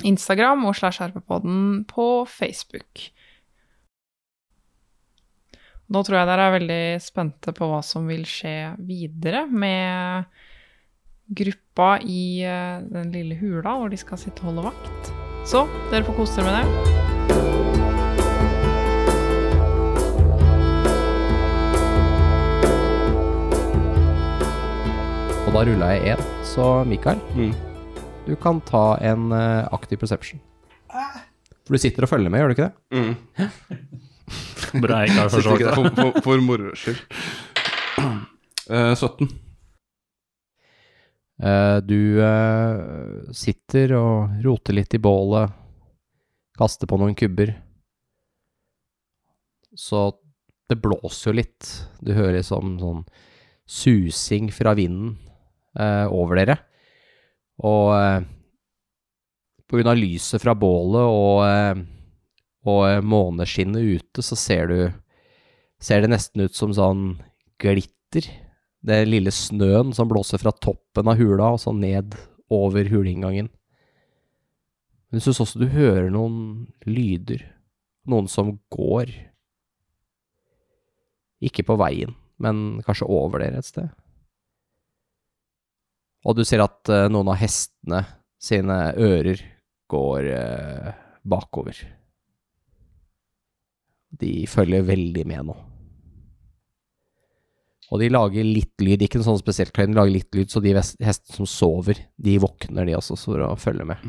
Instagram og slash rppodden på Facebook. Nå tror jeg dere er veldig spente på hva som vil skje videre med gruppa i eh, den lille hula hvor de skal sitte og holde vakt. Så dere får kose dere med det.
Og da rulla jeg én, så Mikael,
Mm.
du kan ta en eh, aktiv perception. For du sitter og følger med, gjør du ikke det?
Mm.
Bra jeg ikke har
Sitter
forsvart
ikke der
det.
for, for, for moro skyld. Eh, 17.
Eh, du eh, sitter og roter litt i bålet, kaster på noen kubber. Så det blåser jo litt. Du hører som sånn susing fra vinden eh, over dere. Og eh, på grunn av lyset fra bålet og, eh, og eh, måneskinnet ute, så ser du Ser det nesten ut som sånn glitter det lille snøen som blåser fra toppen av hula og så ned over huleinngangen. Men jeg syns også du hører noen lyder, noen som går. Ikke på veien, men kanskje over dere et sted. Og du ser at eh, noen av hestene sine ører går eh, bakover. De følger veldig med nå. Og de lager litt lyd, ikke en sånn spesielt kløy, de lager litt lyd, så de vest- hestene som sover, de våkner de også for å følge med.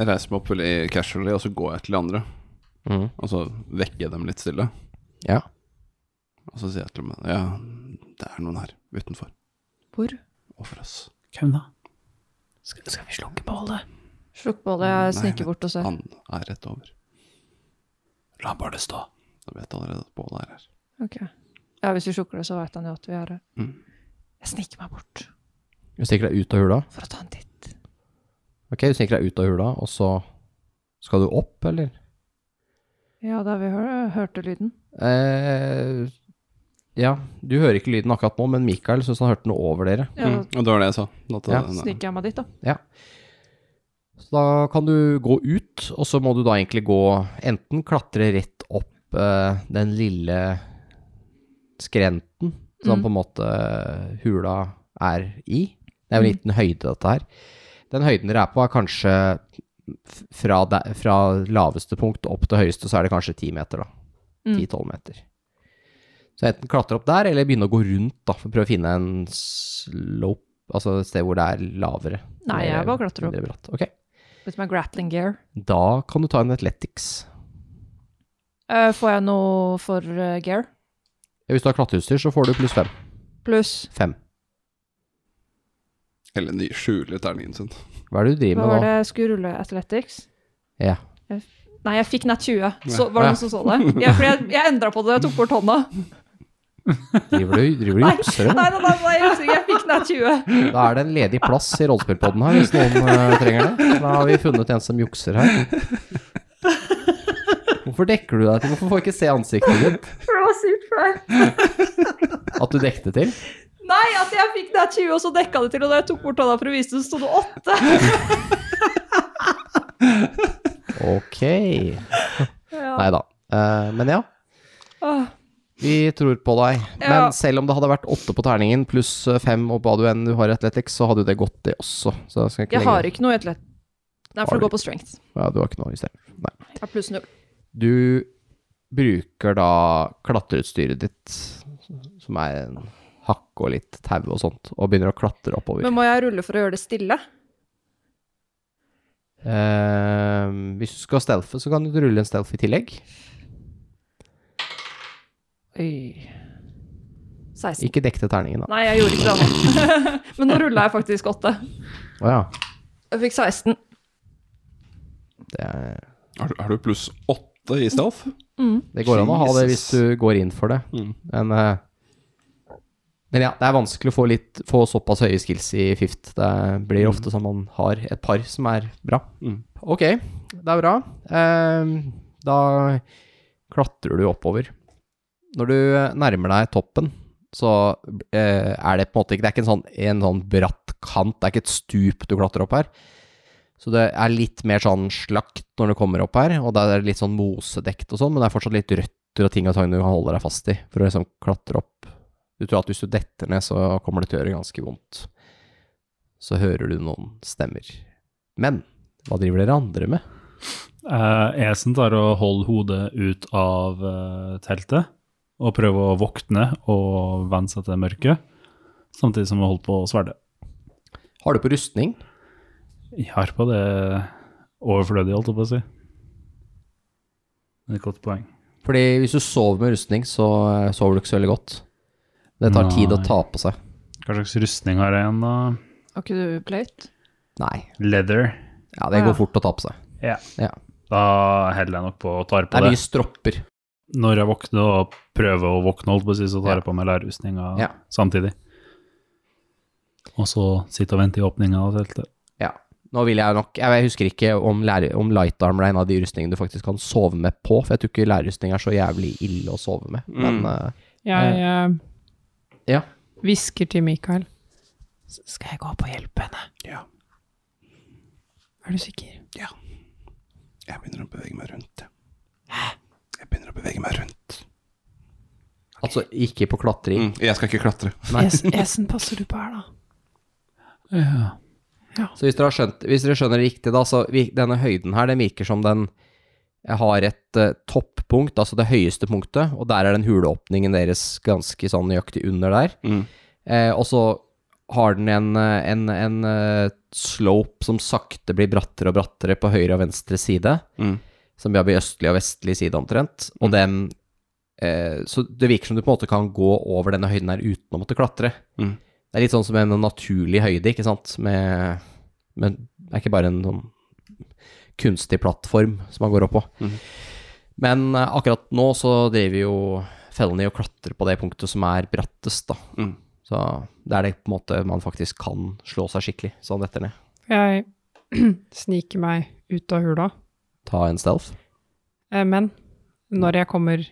Jeg reiser meg opp veldig casually, og så går jeg til de andre.
Mm.
Og så vekker jeg dem litt stille.
Ja.
Og så sier jeg til dem ja, det er noen her utenfor.
Hvor?
Over oss.
Hvem da?
Skal, skal vi slukke bålet?
Slukk på det, jeg
Nei,
sniker
men-
bort og ser.
Han er rett over. La bare det stå. Da vet jeg allerede at bålet er her.
Ok. Ja, hvis vi slukker det, så vet han jo at vi er her.
Mm.
Jeg sniker meg bort
Du stikker deg ut av hula.
for å ta en titt.
Ok, du stikker deg ut av hula, og så skal du opp, eller?
Ja, da vi hør, hørte lyden.
Eh, ja, du hører ikke lyden akkurat nå, men Mikael syns han hørte noe over dere.
Ja,
Mm. Og det var det jeg sa. At det-
Ja,
da
nei.
sniker jeg meg dit, da.
Så da kan du gå ut, og så må du da egentlig gå enten klatre rett opp eh, den lille skrenten som
Mm.
på en måte eh, hula er i. Det er
Mm.
jo en liten høyde, dette her. Den høyden dere er på, er kanskje f- fra, der, fra laveste punkt opp til høyeste, så er det kanskje ti meter, da.
Mm.
Ti-tolv meter. Så enten klatre opp der, eller begynne å gå rundt, da, for å prøve å finne en slope, altså et sted hvor det er lavere.
Nei, jeg bare klatrer opp.
Mindre bratt. Ok.
Litt med grappling gear.
Da kan du ta en athletics.
Eh, får jeg noe for eh, gear?
Ja, Hvis du har klatreutstyr, så får du pluss fem.
Pluss
Fem.
Eller de skjuler terningen sin.
Hva er det du driver
Hva var
med nå?
det jeg skulle rulle? Athletics?
Ja.
Jeg f- Nei, jeg fikk nett 20. Så, var det noen som så det? Jeg, for jeg, jeg endra på det, jeg tok bort hånda.
Driver du driver du
Nei, nei,
jukser?
nei, nei, nei jeg, husker ikke, jeg fikk nett 20.
Da er det en ledig plass i rollespillpodden her, hvis noen eh, trenger det. Da har vi funnet en som jukser her. Hvorfor dekker du deg til? Hvorfor får jeg ikke se ansiktet ditt?
For det var surt for deg.
At du dekte til?
Nei, at jeg fikk nett 20, og så dekka det til, og da jeg tok bort hånda for å vise det, så sto det 8.
Ok.
Ja.
Nei da. Eh, Men ja.
Åh,
Vi tror på deg.
Ja.
Men selv om det hadde vært åtte på terningen pluss eh, fem og hva du enn du har i athletics, så hadde jo det gått, det også. Så jeg skal ikke
Jeg har ikke noe atlet... Nei,
Har
for det
du-
går på strength.
Ja, du har ikke noe i stedet. Nei.
Jeg har pluss null.
Du bruker da klatreutstyret ditt, som er en hakke og litt tau og sånt, og begynner å klatre oppover.
Men må jeg rulle for å gjøre det stille?
Eh, hvis du skal stealthe, så kan du rulle en stealth i tillegg.
16.
Ikke dekte terningen, da.
Nei, jeg gjorde ikke det. nå. Men nå rulla jeg faktisk 8.
Å ja.
Jeg fikk 16.
Det, er-
Har, du- har du pluss åtte i stealth?
det går an å ha det hvis
Jesus.
du går inn for det.
Mm.
Men, eh, men ja, det er vanskelig å få, litt, få såpass høye skills i Fift. Det blir ofte sånn man har et par som er bra.
Mm.
Ok, det er bra. Ehm, da klatrer du oppover. Når du nærmer deg toppen, så eh, er det på en måte ikke Det er ikke en sånn, en sånn bratt kant, det er ikke et stup du klatrer opp her. Så det er litt mer sånn slakt når du kommer opp her, og der er det litt sånn mosedekt og sånn, men det er fortsatt litt røtter og ting og tang du kan holde deg fast i for å liksom klatre opp. Du tror at hvis du detter ned, så kommer det til å gjøre ganske vondt. Så hører du noen stemmer. Men hva driver dere andre med?
Eh, Esen tar og holder hodet ut av eh, teltet og prøver å våkne og venne seg til mørket, samtidig som hun holder på sverdet.
Har du på rustning?
Jeg har på det overflødig, holdt jeg på å si. Det er et godt poeng.
Fordi hvis du sover med rustning, så eh, sover du ikke så veldig godt. Det tar tid å
Nei.
ta på seg.
Hva slags rustning har jeg igjen, da?
Har ikke du plate?
Nei.
Leather.
Ja, det
Å, ja.
går fort å ta på seg.
Da heller jeg nok på og tar
Det
på
er
det.
mye stropper.
Når jeg våkner og prøver å våkne, holdt på å si, så tar jeg på meg lærrustninga
Ja.
samtidig. Og så sitter og venter i åpninga av teltet.
Ja. Nå vil jeg nok Jeg husker ikke om, lære, om light armor er en av de rustningene du faktisk kan sove med på, for jeg tror ikke lærrustning er så jævlig ille å sove med.
Mm.
Men eh,
Jeg eh,
Ja.
hvisker til Mikael. "S- Skal jeg gå opp og hjelpe henne?
Ja.
Er du sikker?
Jeg begynner å bevege meg rundt, jeg. Jeg begynner å bevege meg rundt.
altså ikke på klatring.
Mm. Jeg skal ikke klatre.
Es, esen passer du på her, da?
Ja.
Så hvis dere, har skjønt, hvis dere skjønner det riktig, da, så vir- denne høyden her, den virker som den har et eh, toppunkt, altså det høyeste punktet, og der er den huleåpningen deres ganske sånn nøyaktig under der.
Mm.
Eh, og så har den en, eh, en, en eh, slope som sakte blir brattere og brattere på høyre og venstre side,
Mm.
som blir østlig og vestlig side omtrent, og den eh, Så det virker som du på en måte kan gå over denne høyden her uten å måtte klatre.
Mm.
Det er litt sånn som en naturlig høyde, ikke sant? Med, men det er ikke bare en sånn kunstig plattform som man går opp på.
Mhm.
Men eh, akkurat nå så driver jo fellene i å klatre på det punktet som er brattest, da.
Mhm.
Så det er det på en måte man faktisk kan slå seg skikkelig, sånn detter ned.
Jeg sniker meg ut av hula.
Ta en stealth.
Eh, Men når jeg kommer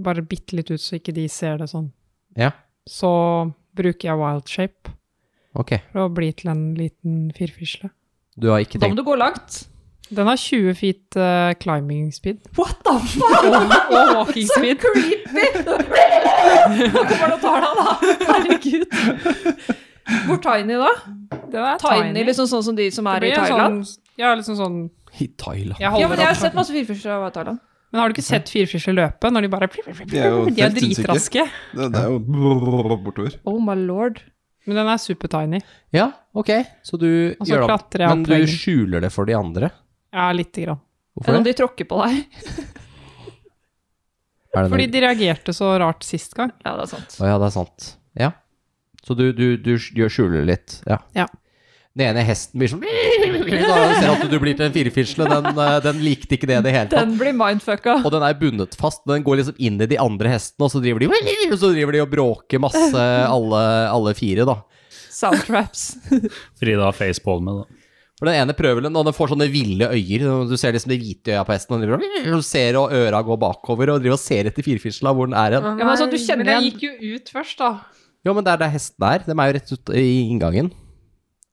bare bitte litt ut, så ikke de ser det sånn,
Ja,
så bruker jeg wild shape
ok.
for å bli til en liten firfisle.
Du har ikke
Da må
tenkt
du gå langt.
Den har 20 feet eh, climbing speed.
What the fuck?
Og walking speed.
Creepy! Nå kommer det og tar deg, da. Herregud. Hvor tiny, da?
Den er
Tiny, liksom sånn som de som
Det
er i
blir en
Thailand?
Sånn, ja, liksom sånn
I Thailand.
jeg
Ja, men
holder
jeg har
opp-
sett masse firfisler av Thailand.
Men har du ikke sett firfisler løpe når de bare
De er jo
De er
helt sinnssyke.
dritraske.
Det, det er jo bortover.
Oh my lord.
Men den er supertiny.
Ja, ok. Så du
Og så
gjør det opp.
klatrer jeg opp
Men du
veggen.
skjuler det for de andre.
Ja, lite grann.
Enn
Hvorfor
om
det?
de tråkker på deg.
Er det
Fordi
noe-
de reagerte så rart sist gang.
Ja, det er sant.
Å ja, det er sant. Ja. Så du, du, du sk- gjør skjuler litt. Ja.
Ja.
Den ene hesten blir sånn Da ser at du blir til en firfisle. Den, eh, den likte ikke det i det hele tatt.
Den blir mindfucka.
Og den er bundet fast. Den går liksom inn i de andre hestene, og så driver de, og så driver de og bråker masse, alle, alle fire, da.
Soundtraps.
Frida har facepalme, da.
For den ene prøver den, og den får sånne ville øyer. Du ser liksom de hvite øya på hesten, og den driver og ser, og øra går bakover, og driver og ser etter firfisla, hvor den er hen.
Ja, men altså, du
Nei,
kjenner
men jeg
gikk jo ut først, da.
Jo, men det er der hesten er. De er jo rett ut i inngangen.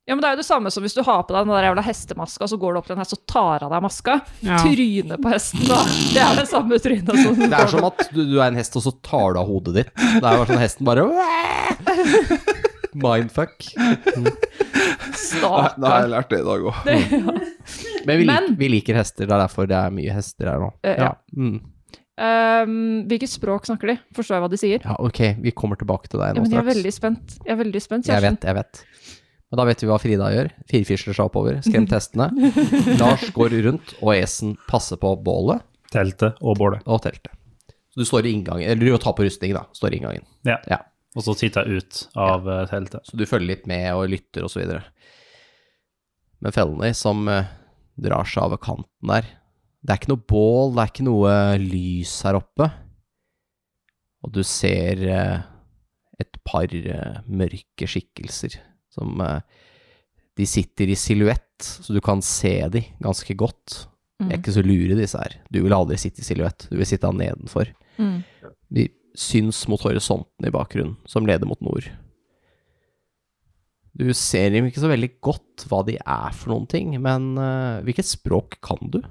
Ja, men Det er jo det samme som hvis du har på deg den der jævla hestemaska, så går du opp til en hest og tar av deg maska.
Ja.
Trynet på hesten, da. Det er det samme trynet som
Det er som at du, du er en hest, og så tar du av hodet ditt. Det er jo sånn hesten bare Mindfuck.
Nei, da har
staker.
jeg lært det i dag òg.
Men vi,
Men-
lik, vi liker hester. Det er derfor det er mye hester her nå.
Eh, ja.
Mm.
Um, hvilket språk snakker de? Forstår jeg hva de sier?
ja, ok, vi kommer tilbake til deg
Ja,
nå
men jeg er
straks.
veldig spent. Jeg er veldig spent,
Jeg
Kjersten.
vet, jeg vet. Men da vet vi hva Frida gjør. Firfisler seg oppover, skremt hestene. Lars går rundt, og Esen passer på bålet
Teltet og bålet.
og teltet. Så du står i inngangen, eller du tar på rustning, da. Står i inngangen.
Ja.
Ja.
Og så sitter jeg ut av eh, teltet.
Så du følger litt med og lytter og så videre. med Felny som eh, drar seg over kanten der. Det er ikke noe bål, det er ikke noe eh, lys her oppe. Og du ser eh, et par eh, mørke skikkelser som eh, De sitter i silhuett, så du kan se de ganske godt. De er
Mm.
ikke så lure, disse her. Du vil aldri sitte i silhuett, du vil sitte han nedenfor.
Mm.
De syns mot horisonten i bakgrunnen, som leder mot nord. Du ser dem ikke så veldig godt hva de er for noen ting, men eh, hvilket språk kan du?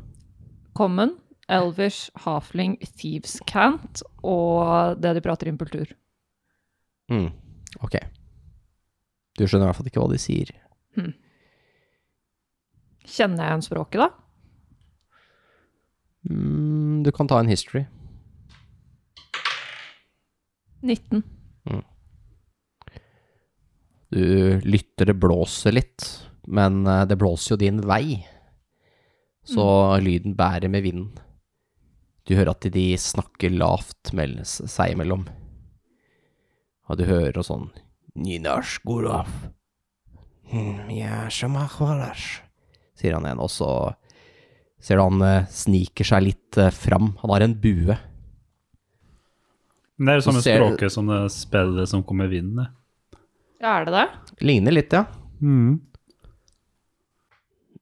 Common, Elvish, Halfling, Thieves Cant og det de prater impultur.
Mm. Ok. Du skjønner i hvert fall ikke hva de sier.
Kjenner jeg igjen språket, da?
Mm, du kan ta en history.
19.
Du lytter det blåser litt, men eh, det blåser jo din vei. Så lyden bærer med vinden. Du hører at de snakker lavt mell- seg imellom. Og du hører og sånn Ninash Gorov. Sier han igjen, og så ser du han eh, sniker seg litt eh, fram. Han har en bue.
Men det er jo
Så
samme
ser-
språket som det spillet som kommer vinden, det.
Ja, er det det?
Ligner litt, ja.
Mm.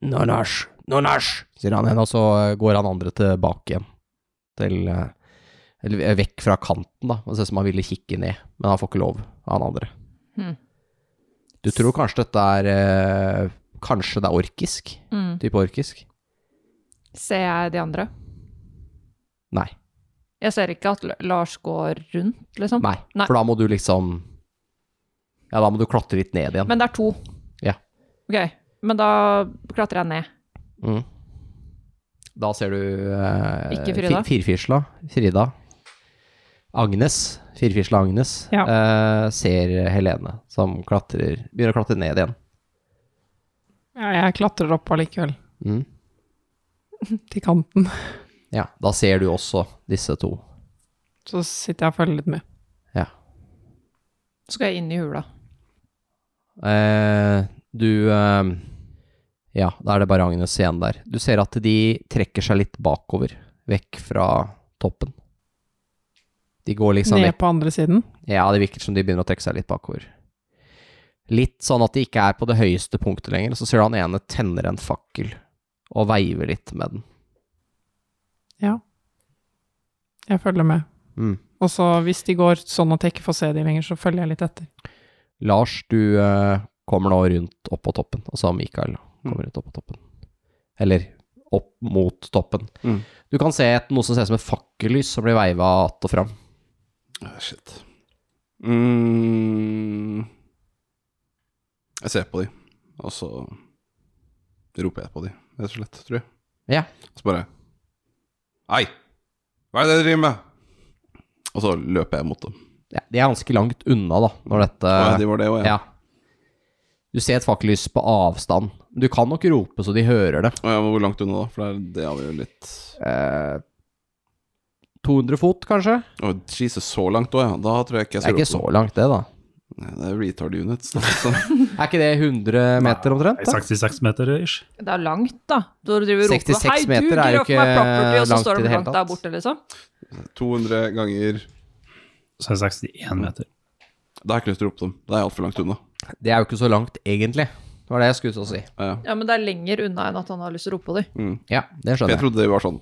Nonash, nonash, sier han igjen, og så eh, går han andre tilbake igjen. Til eh, Eller eh, vekk fra kanten, da. Det ser ut som han ville kikke ned, men han får ikke lov av han andre.
Hmm.
Du tror kanskje dette er eh, Kanskje det er orkisk?
Mm.
Type orkisk?
Ser jeg de andre?
Nei.
Jeg ser ikke at L- Lars går rundt, liksom.
Nei.
Nei.
For da må du liksom Ja, da må du klatre litt ned igjen.
Men det er to.
Ja.
Ok, men da klatrer jeg ned.
Mm. Da ser du eh,
Ikke Frida.
fi- Firfisla. Frida. Agnes. Firfisla Agnes
Ja.
eh, ser Helene, som klatrer, begynner å klatre ned igjen.
Ja, jeg klatrer opp allikevel,
Mm.
til kanten.
Ja, da ser du også disse to.
Så sitter jeg og følger litt med.
Ja.
Så skal jeg inn i hula.
Eh, du eh, Ja, da er det bare Agnes igjen der. Du ser at de trekker seg litt bakover, vekk fra toppen. De går liksom
Ned
vekk
på andre siden.
Ja, det virker som de begynner å trekke seg litt bakover. Litt sånn at de ikke er på det høyeste punktet lenger, så ser du han ene tenner en fakkel og veiver litt med den.
Jeg følger med.
Mm.
Og så hvis de går sånn at jeg ikke får se de lenger, så følger jeg litt etter.
Lars, du eh, kommer nå rundt opp på toppen, og så Mikael
Mm.
kommer rundt opp på toppen. Eller opp mot toppen.
Mm.
Du kan se et, noe som ser ut som et fakkellys som blir veiva att og fram.
Ah, Shit. Mm. Jeg ser på de, og så roper jeg på de, rett og slett, tror jeg.
Ja.
Og så bare Hei! Hva er det dere driver med? Og så løper jeg mot dem.
Ja, de er ganske langt unna, da, når dette
Å, Mm. ja, de var det også, ja.
Eh, ja. Du ser et fakkellys på avstand. Du kan nok rope så de hører det.
Å, ja, men hvor langt unna da? For det, er- det avgjør litt
eh, 200 fot, kanskje?
Å, Jesus, så langt òg, ja. Da tror jeg ikke jeg
Det er
skal
ikke så langt, det, da.
Nei, det er retard units. da, liksom. så.
Er ikke det 100 meter omtrent? Da?
66 meter ish.
Det er langt, da. Du driver og roper
66 meter er jo
grøff
ikke
meg property», og så
langt
står
i
de
det hele
langt
tatt.
der borte, liksom.
200 ganger
Så er det 61 meter.
Da har jeg ikke lyst til å rope dem. Da er jeg altfor langt unna.
Det er jo ikke så langt, egentlig. Det var det jeg skulle til å si.
Ja, ja.
Ja, men det er lenger unna enn at han har lyst til å rope på dem.
Ja, det
For jeg
skjønner jeg.
trodde det var sånn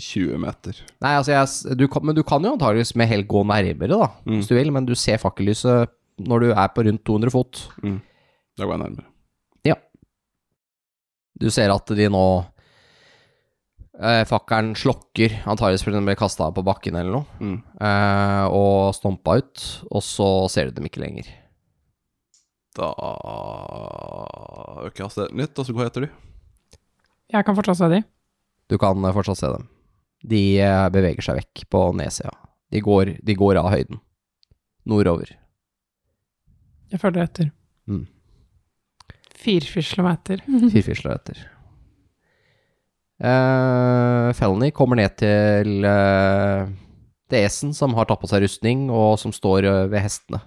20 meter.
Nei, altså, jeg, s- du kan, men du kan jo antageligvis med hell gå nærmere, da, hvis du vil. Men du ser fakkellyset når du er på rundt 200 fot.
Da går jeg nærmere.
Ja. Du ser at de nå eh, Fakkelen slokker, antakeligvis fordi den ble kasta på bakken eller noe,
Mm.
eh, og stompa ut. Og så ser du dem ikke lenger.
Da øker jeg hastigheten litt, og så går jeg etter de.
Jeg kan fortsatt se de.
Du kan eh, fortsatt se dem. De eh, beveger seg vekk på nedsida. De går, de går av høyden. Nordover.
Jeg følger etter.
Mm.
Firfislemeter.
Firfisler etter. Uh, Felny kommer ned til uh, Desen, som har tatt på seg rustning, og som står eh, ved hestene.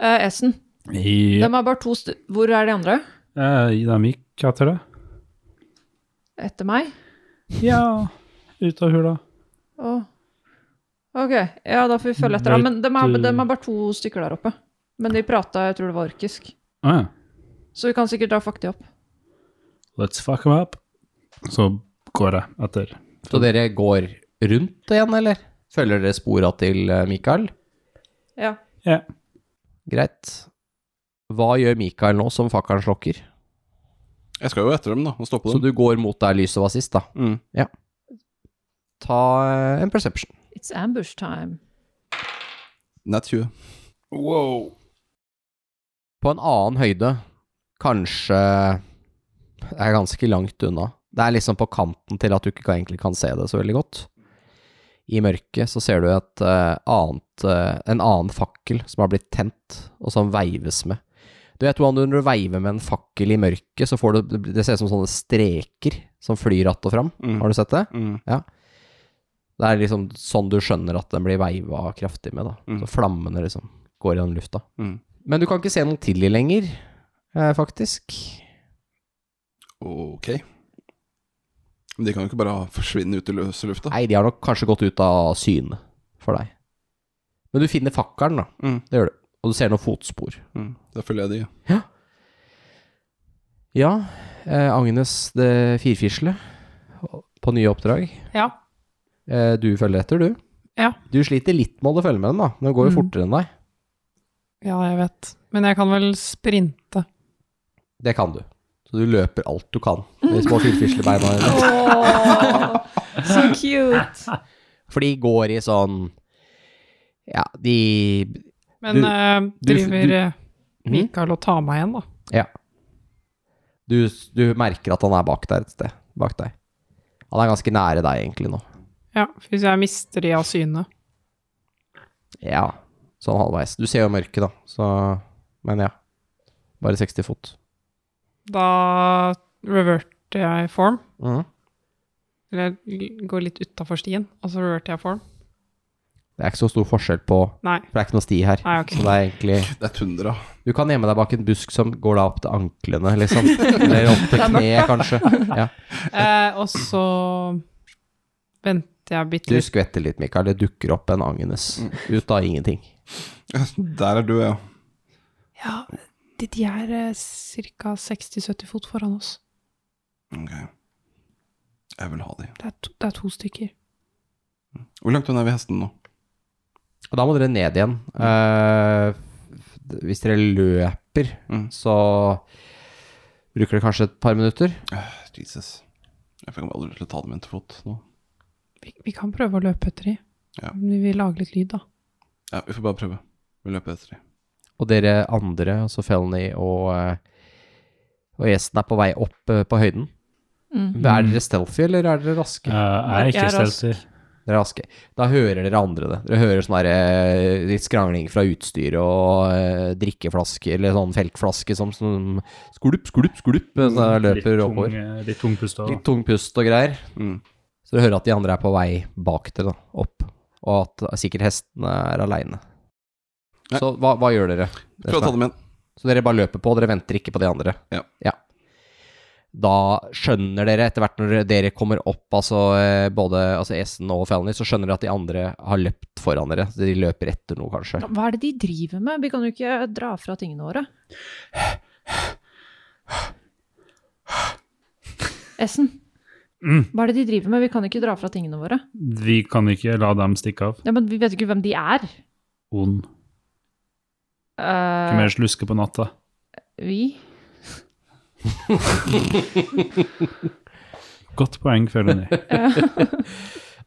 Eh, Essen,
I
dem er bare to st... Hvor er de andre?
Eh, de gikk etter det.
Etter meg?
Ja, ut av hula.
Å. Ok, ja, da får vi følge etter. da. Men de er,
Vet du-
dem er bare to stykker der oppe. Men de prata, jeg tror det var orkisk.
Å ja.
Så vi kan sikkert dra fuck de opp.
Let's fuck them up. Så går jeg etter.
Så dere går rundt igjen, eller? Følger dere spora til eh, Mikael?
Ja.
Ja.
Greit. Hva gjør Mikael nå som fakkelen slokker?
Jeg skal jo etter dem, da, og stoppe
Så
dem.
du går mot der lyset var sist, da.
Mm.
Ta eh, en perception.
It's ambush time.
Nat 20. Wow.
På en annen høyde, kanskje Det er ganske langt unna. Det er liksom på kanten til at du ikke kan- egentlig kan se det så veldig godt. I mørket så ser du et eh, annet, eh, en annen fakkel som har blitt tent, og som veives med. Du vet hvordan du når du veiver med en fakkel i mørket, så får du Det ser ut som sånne streker som flyr att og fram.
Mm.
Har du sett det?
Mm.
Det er liksom sånn du skjønner at den blir veiva kraftig med, da.
Mm.
Så flammene liksom går gjennom lufta.
Mm.
Men du kan ikke se noe til de lenger, eh, faktisk.
Ok. Men de kan jo ikke bare forsvinne ut i løse lufta.
Nei, de har nok kanskje gått ut av syne for deg. Men du finner fakkelen, da.
Mm.
Det gjør du. Og du ser noen fotspor.
Mm. Da følger jeg de.
Ja, eh, Agnes det firfisle på nye oppdrag.
Ja.
Eh, du følger etter, du.
Ja.
Du sliter litt med å følge med den, da. Den går jo
Mm.
fortere enn deg.
ja, jeg vet. Men jeg kan vel sprinte.
Det kan du. Så du løper alt du kan med de små firfislebeina dine.
Åh, så cute!
For de går i sånn Ja, de
Men
Du-
eh,
du-
driver
du-
eh,
Mhm.
Mikael og tar meg igjen, da?
Ja. Du, du merker at han er bak der et sted. Bak deg. Han er ganske nære deg egentlig nå.
Ja, hvis jeg mister de av syne.
Ja, sånn halvveis. Du ser jo mørket, da, så Men ja. Bare 60 fot.
Da reverter jeg form.
Mhm.
Eller l- går litt utafor stien, og så reverter jeg form.
Det er ikke så stor forskjell på For
Nei.
det er ikke noe sti her.
Nei, ok.
Så det er egentlig
Det er tundra.
Du kan gjemme deg bak en busk som går da opp til anklene, liksom. Eller opp til kneet, kanskje. Ja.
Eh, og så venter jeg bitte
Du
litt.
skvetter litt, Mikael. Det dukker opp en Agnes ut av ingenting.
Der er du, ja.
Ja, de, de er eh, ca. 60-70 fot foran oss.
Ok. Jeg vil ha de.
Det er, to, det er to stykker.
Hvor langt unna er vi hesten nå?
Og da må dere ned igjen. Eh, f- hvis dere løper,
Mm.
så bruker dere kanskje et par minutter.
Øh, Jesus. Jeg fikk aldri til å ta dem inn til fot nå.
Vi, vi kan prøve å løpe etter de.
Ja.
Men vi vil lage litt lyd, da.
Ja, vi får bare prøve. Vi løper etter de.
Og dere andre, altså Felny og, eh, og gjesten, er på vei opp eh, på høyden.
Mm.
Er dere stealthy, eller er dere raske?
Eh, jeg er
Jeg
ikke
er rask.
stealthy.
Dere er raske. Da hører dere andre det. Dere hører sånn der, eh, litt skrangling fra utstyret og eh, drikkeflasker, eller sånn feltflaske som, som skulup, skulup, skulup, mens dere eh, sånn løper
Mm, tung,
oppover.
eh, litt tung pust òg.
Litt tung pust og greier.
Mm.
Så du hører at de andre er på vei bak dere, da, opp. Og at sikkert hestene er aleine.
Nei.
Så hva, hva gjør dere?
Prøv å ta dem igjen.
Så dere bare løper på, dere venter ikke på de andre?
Ja.
Da skjønner dere etter hvert når dere kommer opp, altså eh, både altså Essen og Felny, så skjønner dere at de andre har løpt foran dere. Så de løper etter noe, kanskje.
Hva er det de driver med? Vi kan jo ikke dra fra tingene våre. Essen,
Mm.
hva er det de driver med? Vi kan ikke dra fra tingene våre.
Vi kan ikke la dem stikke av.
Ja, men vi vet ikke hvem de er.
Ond.
Eh,
Eh.
Hvem er sluske på natta?
vi?
Godt poeng, føler jeg.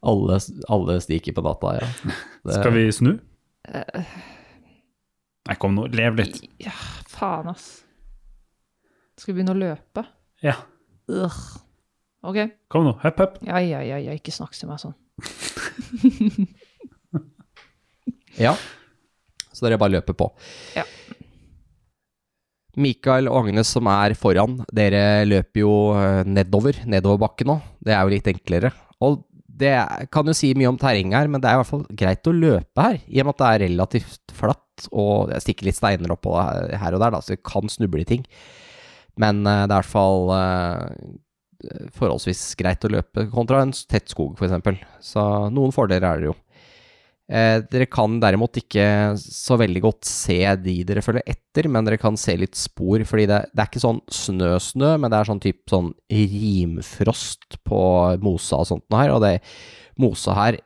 Alle, alle stikker på data, ja. Det-
Skal vi snu?
Eh.
Nei, kom nå, lev litt.
Ja, faen, ass. Skal vi begynne å løpe?
Ja,
Ugh. Ok.
kom nå, høpp, høpp.
Ja, ja, ja, ja, ikke snakk til meg sånn.
Ja. Så dere bare løper på.
Ja.
Mikael og Agnes som er foran, dere løper jo eh, nedover, nedover bakken nå. Det er jo litt enklere. Og det er- kan jo si mye om terrenget her, men det er i hvert fall greit å løpe her, i og med at det er relativt flatt, og det stikker litt steiner oppå her og der, da, så det kan snuble i ting. Men eh, det er i hvert fall eh, forholdsvis greit å løpe kontra en tett skog, f.eks. Så noen fordeler er det jo. Eh, dere kan derimot ikke så veldig godt se de dere følger etter, men dere kan se litt spor, fordi det, det er ikke sånn snø-snø, men det er sånn typ sånn rimfrost på mosa og sånt noe her, og det mosa her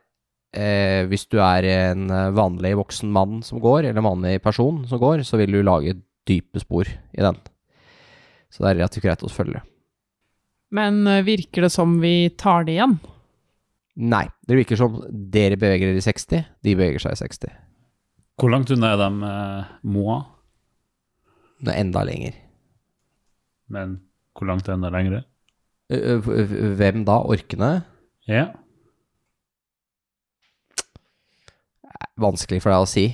eh, hvis du er en eh, vanlig voksen mann som går, eller en vanlig person som går, så vil du lage dype spor i den. Så det er relativt greit å følge.
Men eh, virker det som vi tar det igjen?
Nei, det virker som dere beveger dere i 60, de beveger seg i 60.
Hvor langt unna er de eh, Moa?
Det er enda lenger.
Men hvor langt er enda lengre?
Ø- ø- ø- Hvem da? Orkene?
Ja.
Vanskelig for deg å si.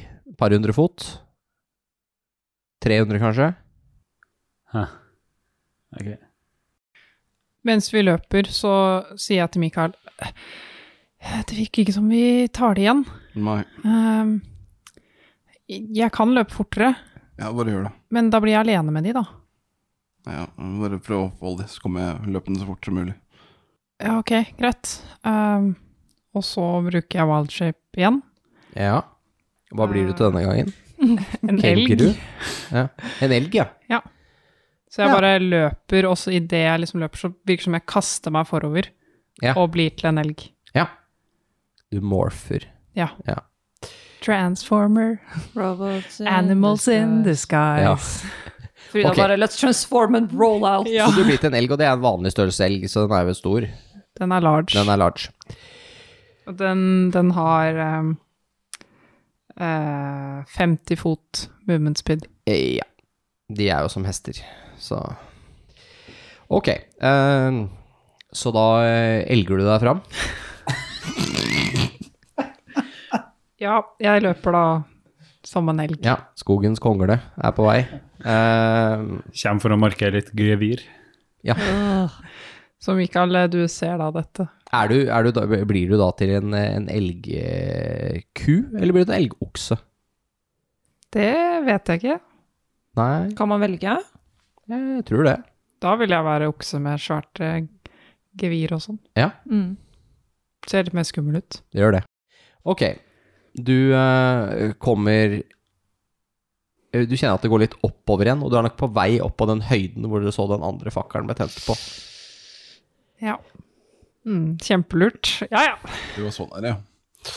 Par hundre fot? 300 kanskje?
ok.
Mens vi løper, så sier jeg til Mikael «Eh, Det virker ikke som vi tar det igjen.
Nei.
Ehm, jeg kan løpe fortere,
Ja, bare gjør det.
men da blir jeg alene med de, da.
Ja, bare prøv å oppholde det, så kommer jeg løpende så fort som mulig.
Ja, ok, greit. Ehm, og så bruker jeg wildshape igjen.
Ja. Hva blir du til denne gangen?
Eh, En
Kenguru?
elg.
Ja. En elg, ja.
Så jeg
Ja.
bare løper, og så idet jeg liksom løper, så virker det som jeg kaster meg forover
Ja.
og blir til en elg.
Du morfer.
Ja.
Ja.
Transformer,
Robots
animals in
the-
disguise.
Frida
Ok.
bare Let's transform and roll out.
Ja.
Så du blir til en elg, og det er en vanlig størrelse elg, så den er jo stor.
Den er large.
Den er large.
Og den, den har ehm, eh, 50 fot movement speed.
Eh, Ja. De er jo som hester, så Ok. eh, så da eh, elger du deg fram.
Ja, jeg løper da som en elg.
Ja. Skogens kongle er på vei. Eh,
Kjem for å markere litt gevir.
Så Mikael, eh, du ser da dette.
er du, er du da, blir du da til en, en elgku, eller blir du til en elgokse?
Det vet jeg ikke.
Nei,
Kan man velge?
jeg tror det.
Da vil jeg være okse med svært eh, gevir og sånn.
Mm.
Ser litt mer skummel ut.
Det gjør det. Ok, du eh, kommer eh, Du kjenner at det går litt oppover igjen, og du er nok på vei opp på den høyden hvor dere så den andre fakkelen ble tent på.
Ja. Mm, kjempelurt. Ja, ja.
Du var så nær, ja.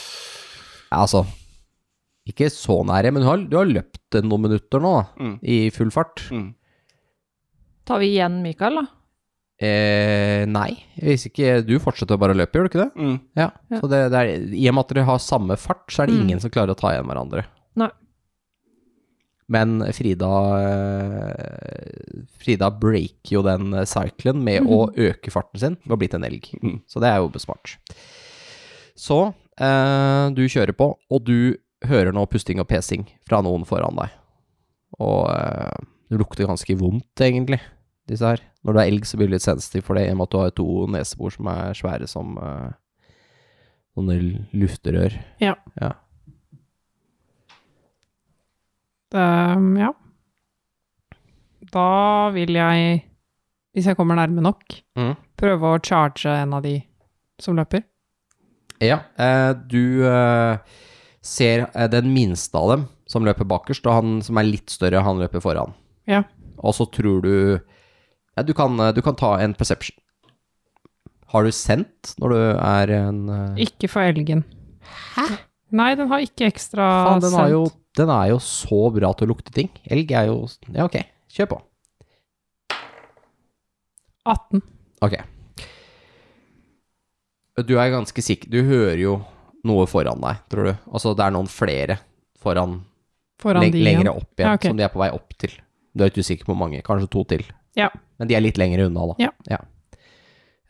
Ja, altså Ikke så nære, men du har, du har løpt noen minutter nå, da,
Mm.
i full fart.
Mm.
Tar vi igjen Mikael, da?
Eh, nei, hvis ikke Du fortsetter bare å løpe, gjør du ikke det?
Mm.
Ja.
Ja.
Så det, det er, I og med at dere har samme fart, så er det
Mm.
ingen som klarer å ta igjen hverandre.
Nei.
Men Frida eh, Frida breaker jo den eh, cyclen med å
Mhm.
øke farten sin ved å bli til en elg.
Mm.
Så det er jo besmart. Så eh, du kjører på, og du hører nå pusting og pesing fra noen foran deg. Og eh, det lukter ganske vondt, egentlig, disse her. Når du er elg, så blir du litt sensitiv for det, i og med at du har to nesebor som er svære som eh, sånne lufterør.
Ehm, ja. Da vil jeg, hvis jeg kommer nærme nok,
Mhm.
prøve å charge en av de som løper.
Ja, eh, du eh, ser eh, den minste av dem som løper bakerst, og han som er litt større, han løper foran.
Ja.
Og så tror du ja, du, kan, eh, du kan ta en perception. Har du sendt når du er en eh,
Ikke for elgen. Hæ? Nei, den har ikke ekstra
Faen, den, har
sendt.
jo, den er jo så bra til å lukte ting. Elg er jo Ja, ok, kjør på.
18.
Ok. Du er ganske sikker Du hører jo noe foran deg, tror du. Altså, det er noen flere foran
Foran
Leng
de igjen.
lengre opp igjen,
Ja, ok.
som de er på vei opp til. Du er ikke usikker på hvor mange, kanskje to til.
Ja.
Men de er litt lenger unna, da.
Ja.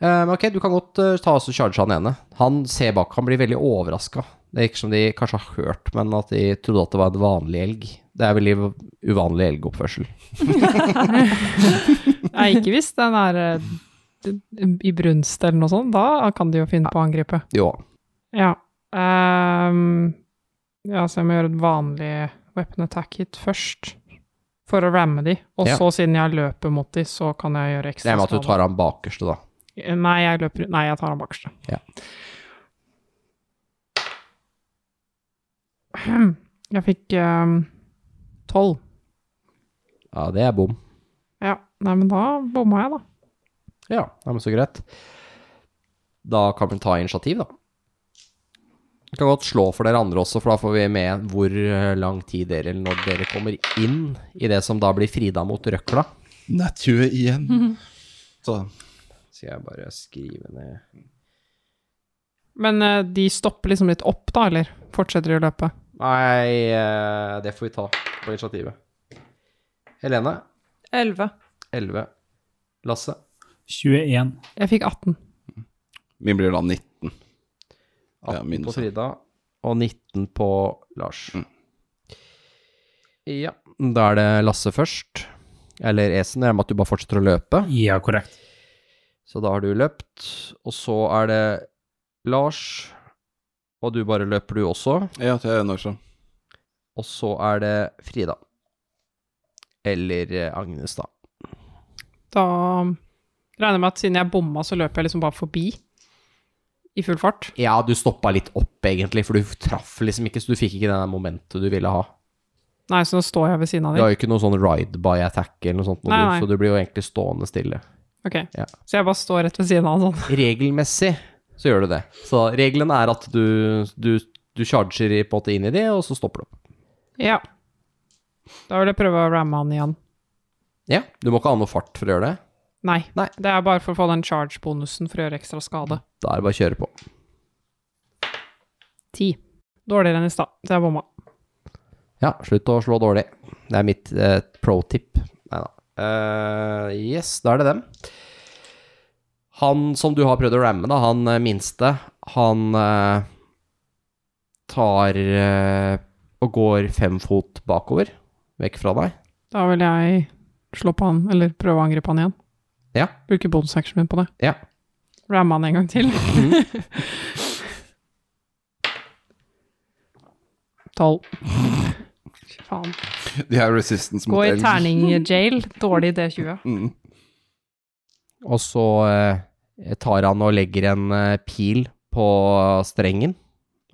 Eh, men ok, du kan godt eh, ta oss og charge han ene. Han ser bak, han blir veldig overraska. Det virker som de kanskje har hørt, men at de trodde at det var en vanlig elg. Det er veldig uvanlig elgoppførsel.
Nei, ikke hvis den er eh, d- i brunst eller noe sånt. Da kan de jo finne på å angripe.
Jo.
Ja. ehm, ja, så jeg må gjøre et vanlig weapon attack hit først. for å ramme de. Og
Ja.
så, siden jeg løper mot de, så kan jeg gjøre
Det
ekstra
er med at du tar han bakerste, da.
Nei, jeg løper Nei, jeg tar han bakerste.
Ja.
Jeg fikk ehm, tolv.
Ja, det er bom.
ja. Nei, men da bomma jeg, da.
Ja, det er men så greit. Da kan vi ta initiativ, da. Vi kan godt slå for dere andre også, for da får vi med hvor eh, lang tid dere, eller når dere kommer inn i det som da blir frida mot røkla.
Nat 20 igjen. Så
Skal jeg bare skrive ned
Men eh, de stopper liksom litt opp, da, eller? Fortsetter de å løpe?
Nei, eh, det får vi ta på initiativet. Helene,
11.
11. Lasse,
21.
Jeg fikk 18.
min blir da 19.
18
Ja, minus
på
en. Mm.
Frida og 19 på Lars. Ja, da er det Lasse først. Eller Esen, jeg med at du bare fortsetter å løpe.
Ja, korrekt.
Så da har du løpt, og så er det Lars, og du bare løper du også.
Ja, til når så.
Og så er det Frida. Eller eh, Agnes, da.
Da ehm, regner jeg med at siden jeg bomma, så løper jeg liksom bare forbi i full fart.
Ja, du stoppa litt opp, egentlig, for du traff liksom ikke, så du fikk ikke det der momentet du ville ha.
Nei, så nå står jeg ved siden
Du
av dem.
har jo ikke noe sånn ride by attack eller noe sånt, nå,
Nei,
du,
nei.
så du blir jo egentlig stående stille.
Ok,
Ja.
Så jeg bare står rett ved siden av han sånn.
Regelmessig så gjør du det. Så reglene er at du, du, du charger i- på en måte inn i det, og så stopper du opp.
Ja. Da vil jeg prøve å ramme han igjen.
Ja, du må ikke ha noe fart for å gjøre det.
Nei.
Nei.
Det er bare for å få den charge-bonusen for å gjøre ekstra skade.
Da er det bare å kjøre på.
Ti. Dårligere enn i stad, så jeg bomma.
Ja, slutt å slå dårlig. Det er mitt eh, pro tip. Nei da. yes, da er det dem. Han som du har prøvd å ramme, da, han eh, minste, han eh, tar eh, og går fem fot bakover, vekk fra deg.
Da vil jeg slå på han, eller prøve å angripe han igjen.
Ja.
Bruke bonusaction min på det.
Ja.
Ramme han en gang til. Tolv. Fy faen.
De er resistance mot
Gå i
elg.
terning-jail. Dårlig D20.
Mm.
Og så eh, tar han og legger en eh, pil på strengen.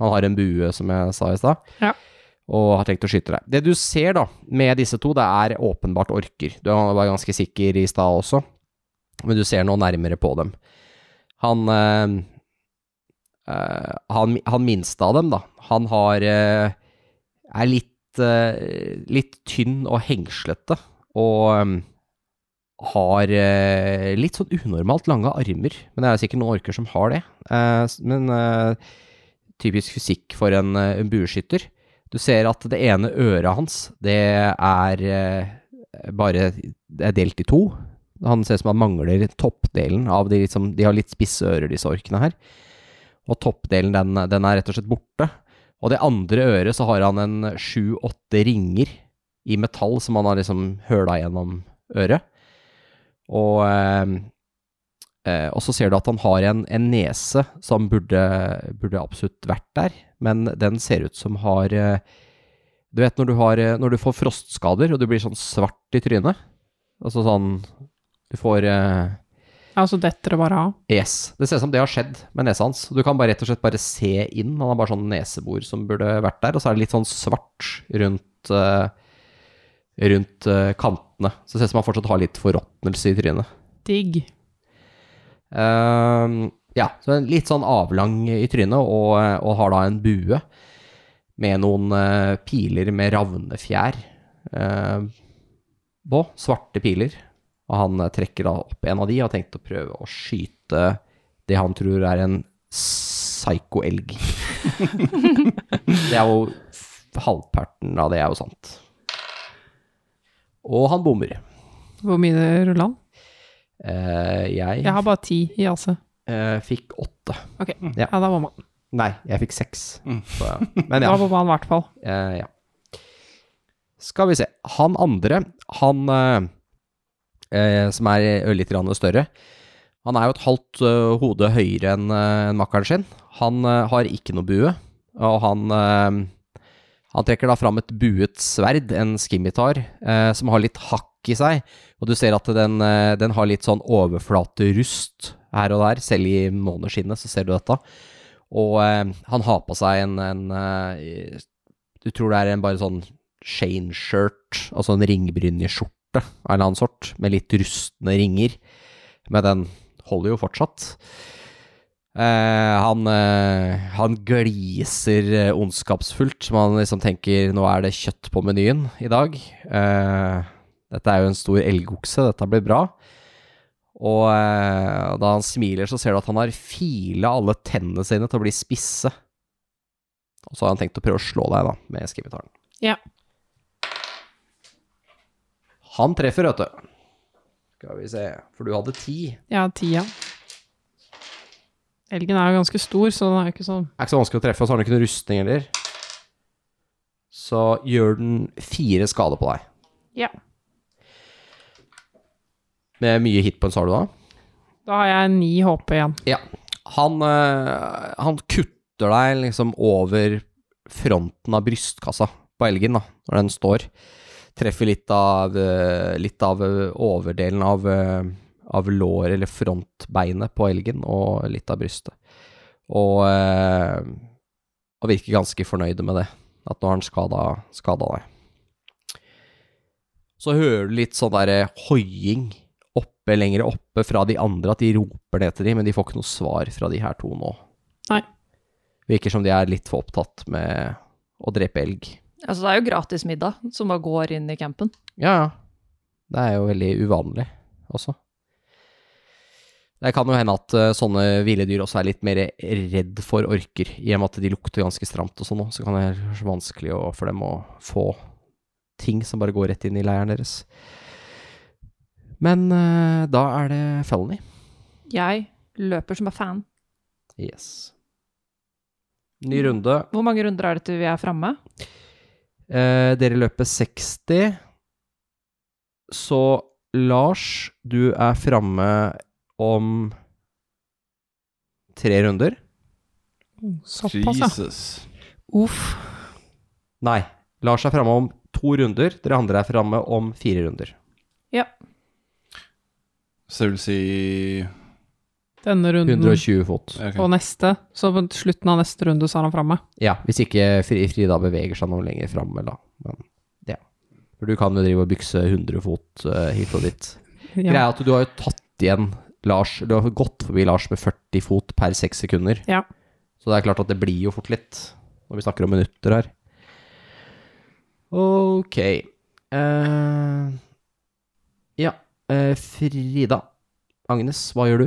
Han har en bue, som jeg sa i stad,
Ja.
og har tenkt å skyte deg. Det du ser da, med disse to, det er åpenbart orker. Du var ganske sikker i stad også, men du ser nå nærmere på dem. Han eh, eh, han, han minste av dem, da. Han har eh, er litt, eh, litt tynn og hengslete, og eh, har eh, litt sånn unormalt lange armer, men det er sikkert noen orker som har det. Eh, s- men eh, typisk fysikk for en, eh, en bueskytter. Du ser at det ene øret hans, det er eh, bare det er delt i to. Han ser ut som han mangler toppdelen av de liksom, De har litt spisse ører, disse orkene her. Og toppdelen, den, den er rett og slett borte. Og det andre øret, så har han en sju-åtte ringer i metall som han har liksom høla gjennom øret. Og, eh, eh, og så ser du at han har en, en nese som burde, burde absolutt vært der, men den ser ut som har eh, Du vet når du, har, eh, når du får frostskader og du blir sånn svart i trynet? Altså sånn Du får eh,
Ja, så detter det bare av.
Yes. Det ser ut som det har skjedd med nesa hans. Du kan bare rett og slett bare se inn. Han har bare sånn nesebor som burde vært der, og så er det litt sånn svart rundt eh, Rundt eh, kantene. Så det ser ut som han fortsatt har litt forråtnelse i trynet.
Digg.
Ehm, ja, så en litt sånn avlang i trynet, og, og har da en bue med noen eh, piler med ravnefjær eh, på. Svarte piler. Og han eh, trekker da opp en av de og har tenkt å prøve å skyte det han tror er en psyko-elg. det er jo halvparten av det er jo sant. Og han bommer.
Hvor mye ruller han?
Eh, jeg
Jeg har bare ti i AC.
eh, fikk åtte.
Ok,
Ja.
ja, da bomma han.
Nei, jeg fikk seks. Så, ja. Men
Da
ja.
bomma han i hvert fall.
eh, ja. Skal vi se. Han andre, han eh, eh, som er ørlite grann større, han er jo et halvt eh, hode høyere enn eh, enn makkeren sin. Han eh, har ikke noe bue, og han eh, Han trekker da fram et buet sverd, en skimitar, eh, som har litt hakk i seg. Og du ser at den, eh, den har litt sånn overflaterust her og der. Selv i måneskinnet så ser du dette. Og eh, han har på seg en, en eh, Du tror det er en bare sånn shane-shirt, altså en ringbrynjeskjorte av en eller annen sort, med litt rustne ringer. Men den holder jo fortsatt. Eh, han, eh, han gliser eh, ondskapsfullt, som han liksom tenker nå er det kjøtt på menyen i dag. Eh, dette er jo en stor elgokse, dette blir bra. Og eh, da han smiler, så ser du at han har fila alle tennene sine til å bli spisse. Og så har han tenkt å prøve å slå deg, da, med skivitaren.
Ja.
Han treffer, vet du. Skal vi se, for du hadde ti. Det
Ja, tida. Elgen er jo ganske stor, så den er jo ikke sånn
er ikke så vanskelig å treffe, og så har den ikke noe rustning heller. Så gjør den fire skader på deg.
Ja.
Med mye hitpoints har du da?
Da har jeg ni HP igjen.
Ja. Han, eh, han kutter deg liksom over fronten av brystkassa på elgen, da, når den står. Treffer litt av, eh, litt av eh, overdelen av, eh, av låret, eller frontbeinet på elgen, og litt av brystet. Og, eh, og virker ganske fornøyde med det, at nå har han skada, skada deg. Så hører du litt sånn derre hoiing oppe, lenger oppe fra de andre, at de roper ned til de, men de får ikke noe svar fra de her to nå.
Nei.
Virker som de er litt for opptatt med å drepe elg.
Altså, det er jo gratis middag som bare går inn i campen.
Ja, ja. Det er jo veldig uvanlig også. Det kan jo hende at eh, sånne ville dyr også er litt mer redd for orker, i og med at de lukter ganske stramt og sånn også, så kan det være så vanskelig å- for dem å få ting som bare går rett inn i leiren deres. Men eh, da er det Felony.
Jeg løper som er fan.
Yes. Ny runde.
Hvor mange runder er det til vi er framme?
Eh, dere løper 60. Så Lars, du er framme om tre runder.
Såpass, ja.
Jesus.
Uff.
Nei, Lars er framme om to runder. Dere andre er framme om fire runder.
Så det vil si
Denne runden
120 fot.
ok.
og neste. Så på slutten av neste runde så er han framme.
Ja, hvis ikke Fri- Frida beveger seg noe lenger fram, eller da. Men det. For du kan jo drive og bykse 100 fot eh, hit og dit. Greia
Ja.
er at du har jo tatt igjen Lars, du har gått forbi Lars med 40 fot per 6 sekunder.
Ja.
Så det er klart at det blir jo fort litt, når vi snakker om minutter her. Ok. Eh, ja, eh, Frida. Agnes, hva gjør du?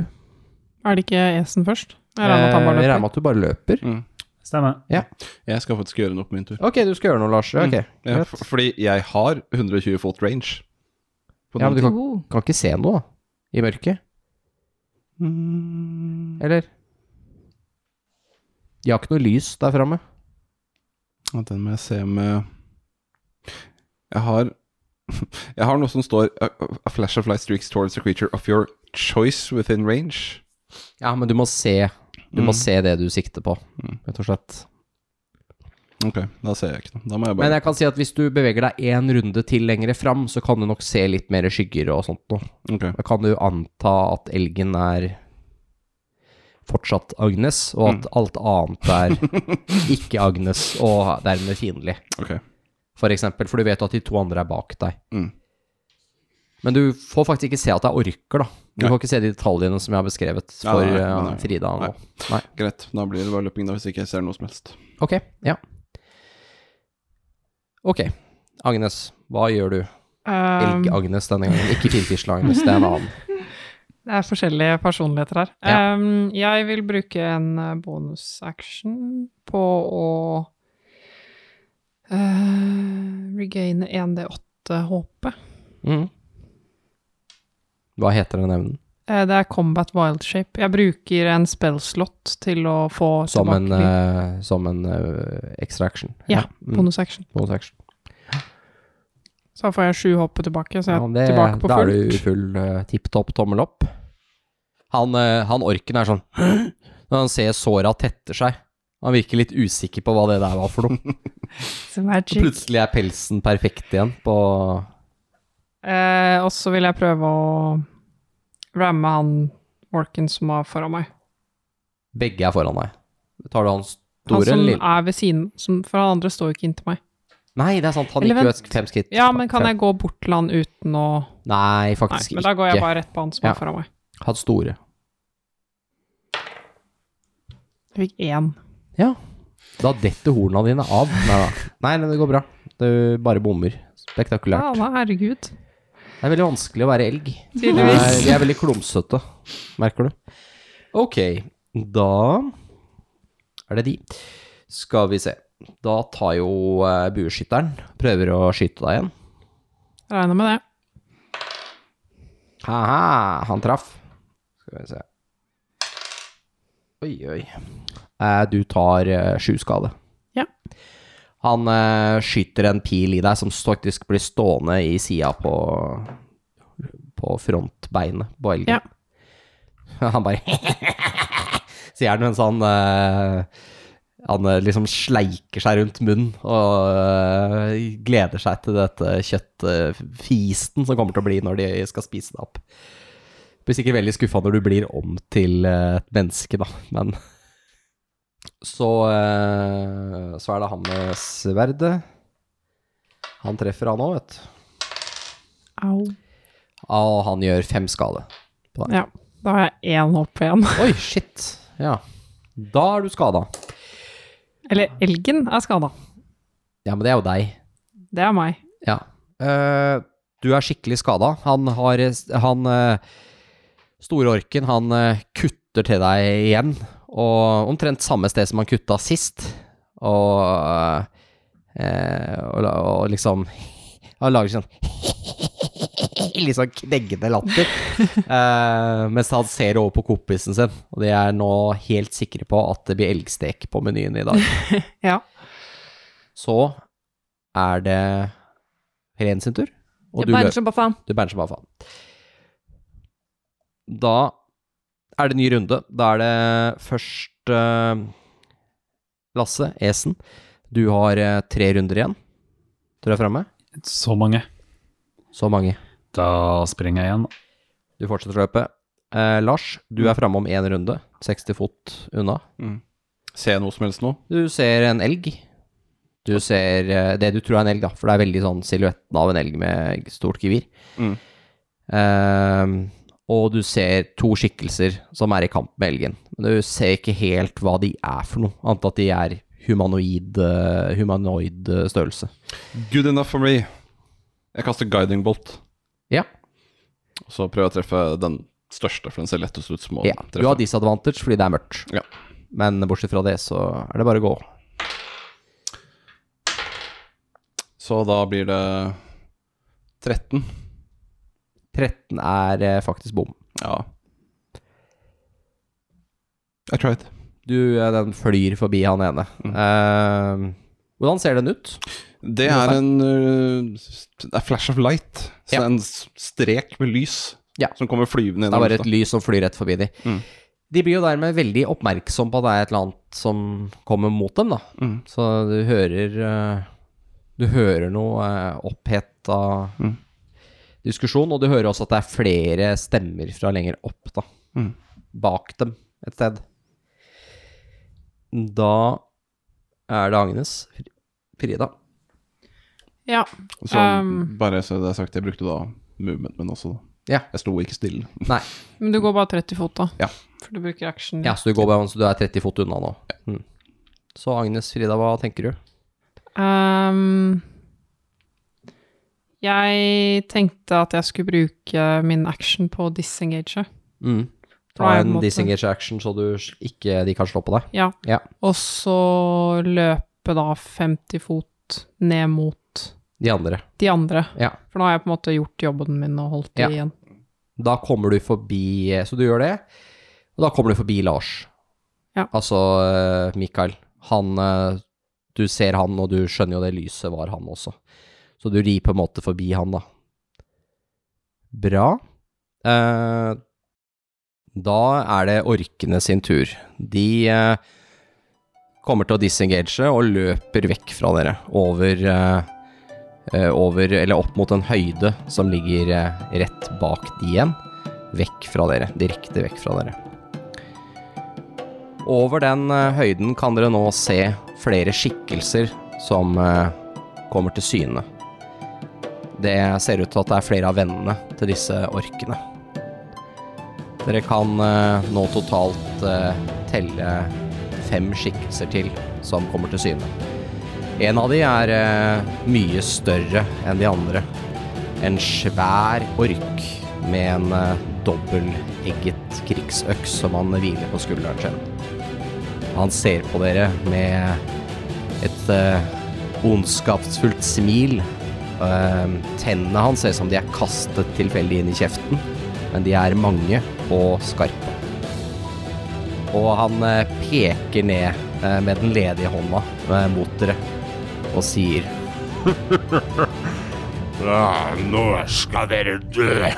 Er det ikke Esen først? Jeg regner med
Eh,
at han
jeg
bare
regner
løper.
med at du bare løper.
Mm.
Stemmer.
Jeg skal faktisk gjøre noe på min tur.
Ok, du skal gjøre noe, Lars.
Mm.
Ok,
Ja,
greit.
for, fordi jeg har 120 fot range. På
Ja, men
noen
du kan,
Oh.
kan ikke se noe da, i mørket,
ting.
eller? De har ikke noe lys der framme.
Ja, Den må jeg se med Jeg har Jeg har noe som står A, a flash of light streaks towards a creature of your choice within range.
Ja, men du må se, du
Mm.
må se det du sikter på,
Mm.
rett og slett.
Ok, da ser jeg ikke noe. Da må
Men
jeg bare
jeg kan si at hvis du beveger deg én runde til lengre fram, så kan du nok se litt mer skygger og sånt noe.
Ok.
Da kan du anta at elgen er fortsatt Agnes, og
Mm.
at alt annet er ikke Agnes, og dermed fiendtlig,
ok.
for eksempel. For du vet jo at de to andre er bak deg.
Mm.
Men du får faktisk ikke se at det er orker, da. Du
Nei.
får ikke se de detaljene som jeg har beskrevet for
nei, nei,
eh,
nei, nei.
Frida nå.
Nei. Greit. Da blir det bare løping, da, hvis ikke jeg ser noe som helst.
Ok, ja. Ok. Agnes, hva gjør du?
Um,
Elg-Agnes denne gangen. Ikke finfisle-Agnes, det er en annen.
Det er forskjellige personligheter her.
Ja.
Ehm, jeg vil bruke en eh, bonusaction på å eh, regaine 1D8 HP.
Mm. Hva heter den evnen?
Eh, det er combat wild shape. Jeg bruker en spellslott til å få
Som en,
tilbake
eh, som en eh, extra action?
Ja,
Mm,
bonusaction.
bonus action.
Så da får jeg 7 HP tilbake, så jeg
Ja,
er
det,
tilbake på
da er du
fullt.
full uh, tipp topp tommel opp. Han, eh, han orken er sånn Når han ser såra tetter seg, Han virker litt usikker på hva det der var for noe.
Så magic.
Så plutselig er pelsen perfekt igjen på
Eh, og så vil jeg prøve å ramme han Morken som var foran meg.
Begge er foran deg. Tar du han
Han
store
som
eller lille?
er ved siden, som, for han andre står jo ikke inntil meg.
Nei, det er sant. Han
Eller
gikk jo
vent.
et fem skritt.
Ja, men kan jeg gå bort til han uten å
Nei,
Nei,
faktisk
men da går jeg
ikke.
bare rett på han som
Ja.
er foran meg.
Han store.
Jeg fikk én.
Ja. Da detter horna dine av. Nei da. Nei, men det går bra. Du bare bommer.
Ja,
Spektakulært.
da, herregud.
Det er veldig vanskelig å være elg. De er,
Tydeligvis.
de er veldig klumsete, merker du. Ok, da er det de. Skal vi se. Da tar jo eh, bueskytteren Prøver å skyte deg igjen.
Regner med det.
Ha-ha, han traff. Skal vi se. Oi, oi. Eh, Du tar eh, sju skade.
Ja.
Han eh, skyter en pil i deg som faktisk blir stående i sida på, på frontbeinet på elgen.
Ja.
Han bare sier han mens han eh, Han eh, liksom sleiker seg rundt munnen og eh, gleder seg til dette kjøttfisten som kommer til å bli når de skal spise det opp. Blir sikkert veldig skuffa når du blir om til eh, et menneske, da, men Så eh, Så er det han med sverdet. Han treffer, han òg, vet du.
Au.
Og han gjør fem skade.
Ja, da har jeg én opp igjen.
Oi, shit. Ja. Da er du skada.
Eller elgen er skada.
Ja, men det er jo deg.
Det er meg.
Ja. Eh, du er skikkelig skada. Han har Han eh, store orken, han eh, kutter til deg igjen. Og omtrent samme sted som han kutta sist. Og, eh, og, la- og liksom Han lager sånn Litt sånn kneggende latter. Eh, mens han ser over på kompisen sin. Og de er nå helt sikre på at det blir elgstek på menyen i dag.
Ja.
Så er det Helen sin tur. Og
Jeg
du,
banner
løper.
som bare faen.
du banner som bare faen. Da er det ny runde. Da er det først eh, Lasse, Esen. Du har eh, tre runder igjen. Du er framme.
Så mange.
Så mange.
Da springer jeg igjen.
Du fortsetter å løpe. Eh, Lars, du er framme om én runde. 60 fot unna.
Mm. Ser jeg noe som helst nå?
Du ser en elg. Du ser eh, det du tror er en elg, da, for det er veldig sånn silhuetten av en elg med stort gevir.
Mm.
Ehm, og du ser to skikkelser som er i kamp med elgen. Men du ser ikke helt hva de er for noe, annet at de er humanoid, eh, humanoid eh, størrelse.
Good enough for me. Jeg kaster guiding bolt.
Ja.
Og så prøver jeg å treffe den største, for den ser lettest ut som å
ja. Du
treffe.
har disadvantage fordi det er mørkt.
Ja.
Men bortsett fra det, så er det bare å gå.
Så da blir det 13.
13 er eh, faktisk bom.
Ja. I tried.
Du, eh, den flyr forbi han ene.
Mm.
Ehm, hvordan ser den ut?
Det er en øh, Det er flash of light. Så
Ja.
det er en s- strek med lys
Ja.
som kommer flyvende
Det er
gjennom
bare et lys som flyr rett forbi de.
Mm.
De blir jo dermed veldig oppmerksom på at det er et eller annet som kommer mot dem, da.
Mm.
Så du hører eh, Du hører noe eh, oppheta
Mm.
diskusjon, og du hører også at det er flere stemmer fra lenger opp, da.
Mm.
Bak dem et sted. Da er det Agnes. Fri- Frida.
Ja.
Så
Um.
bare så det er sagt, jeg brukte da movement, men også da.
Ja.
Jeg sto ikke stille.
Nei.
Men du går bare 30 fot, da.
Ja.
For du bruker action.
Ja, så du, går bare, så du er 30 fot unna nå. Mm. Så Agnes, Frida, hva tenker du?
Ehm, jeg tenkte at jeg skulle bruke min action på å disengage.
Mm.
Nei,
Ta
på en
en
måte.
disengage action, så du s- ikke, de kan slå på deg.
Ja.
Ja.
Og så løpe da 50 fot ned mot
De andre.
de andre.
Ja.
For nå har jeg på en måte gjort jobben min og holdt det
Ja.
igjen.
Da kommer du forbi eh, Så du gjør det, og da kommer du forbi Lars.
Ja.
Altså eh, Mikael. Han eh, Du ser han, og du skjønner jo det lyset var han også. Så du rir på en måte forbi han, da. Bra. Eh, da er det orkene sin tur. De eh, kommer til å disengage og løper vekk fra dere over, eh, eh, over Eller opp mot en høyde som ligger eh, rett bak de igjen. Vekk fra dere. Direkte vekk fra dere. Over den eh, høyden kan dere nå se flere skikkelser som eh, kommer til syne. Det ser ut til at det er flere av vennene til disse orkene. Dere kan eh, nå totalt eh, telle fem skikkelser til som kommer til syne. En av de er eh, mye større enn de andre. En svær ork med en eh, dobbeltegget krigsøks som han hviler på skulderen sin. Han ser på dere med et eh, ondskapsfullt smil. Eh, tennene hans ser ut som de er kastet tilfeldig inn i kjeften, men de er mange og skarpe. Og han eh, peker ned eh, med den ledige hånda eh, mot dere og sier
Ja, nå skal dere dø.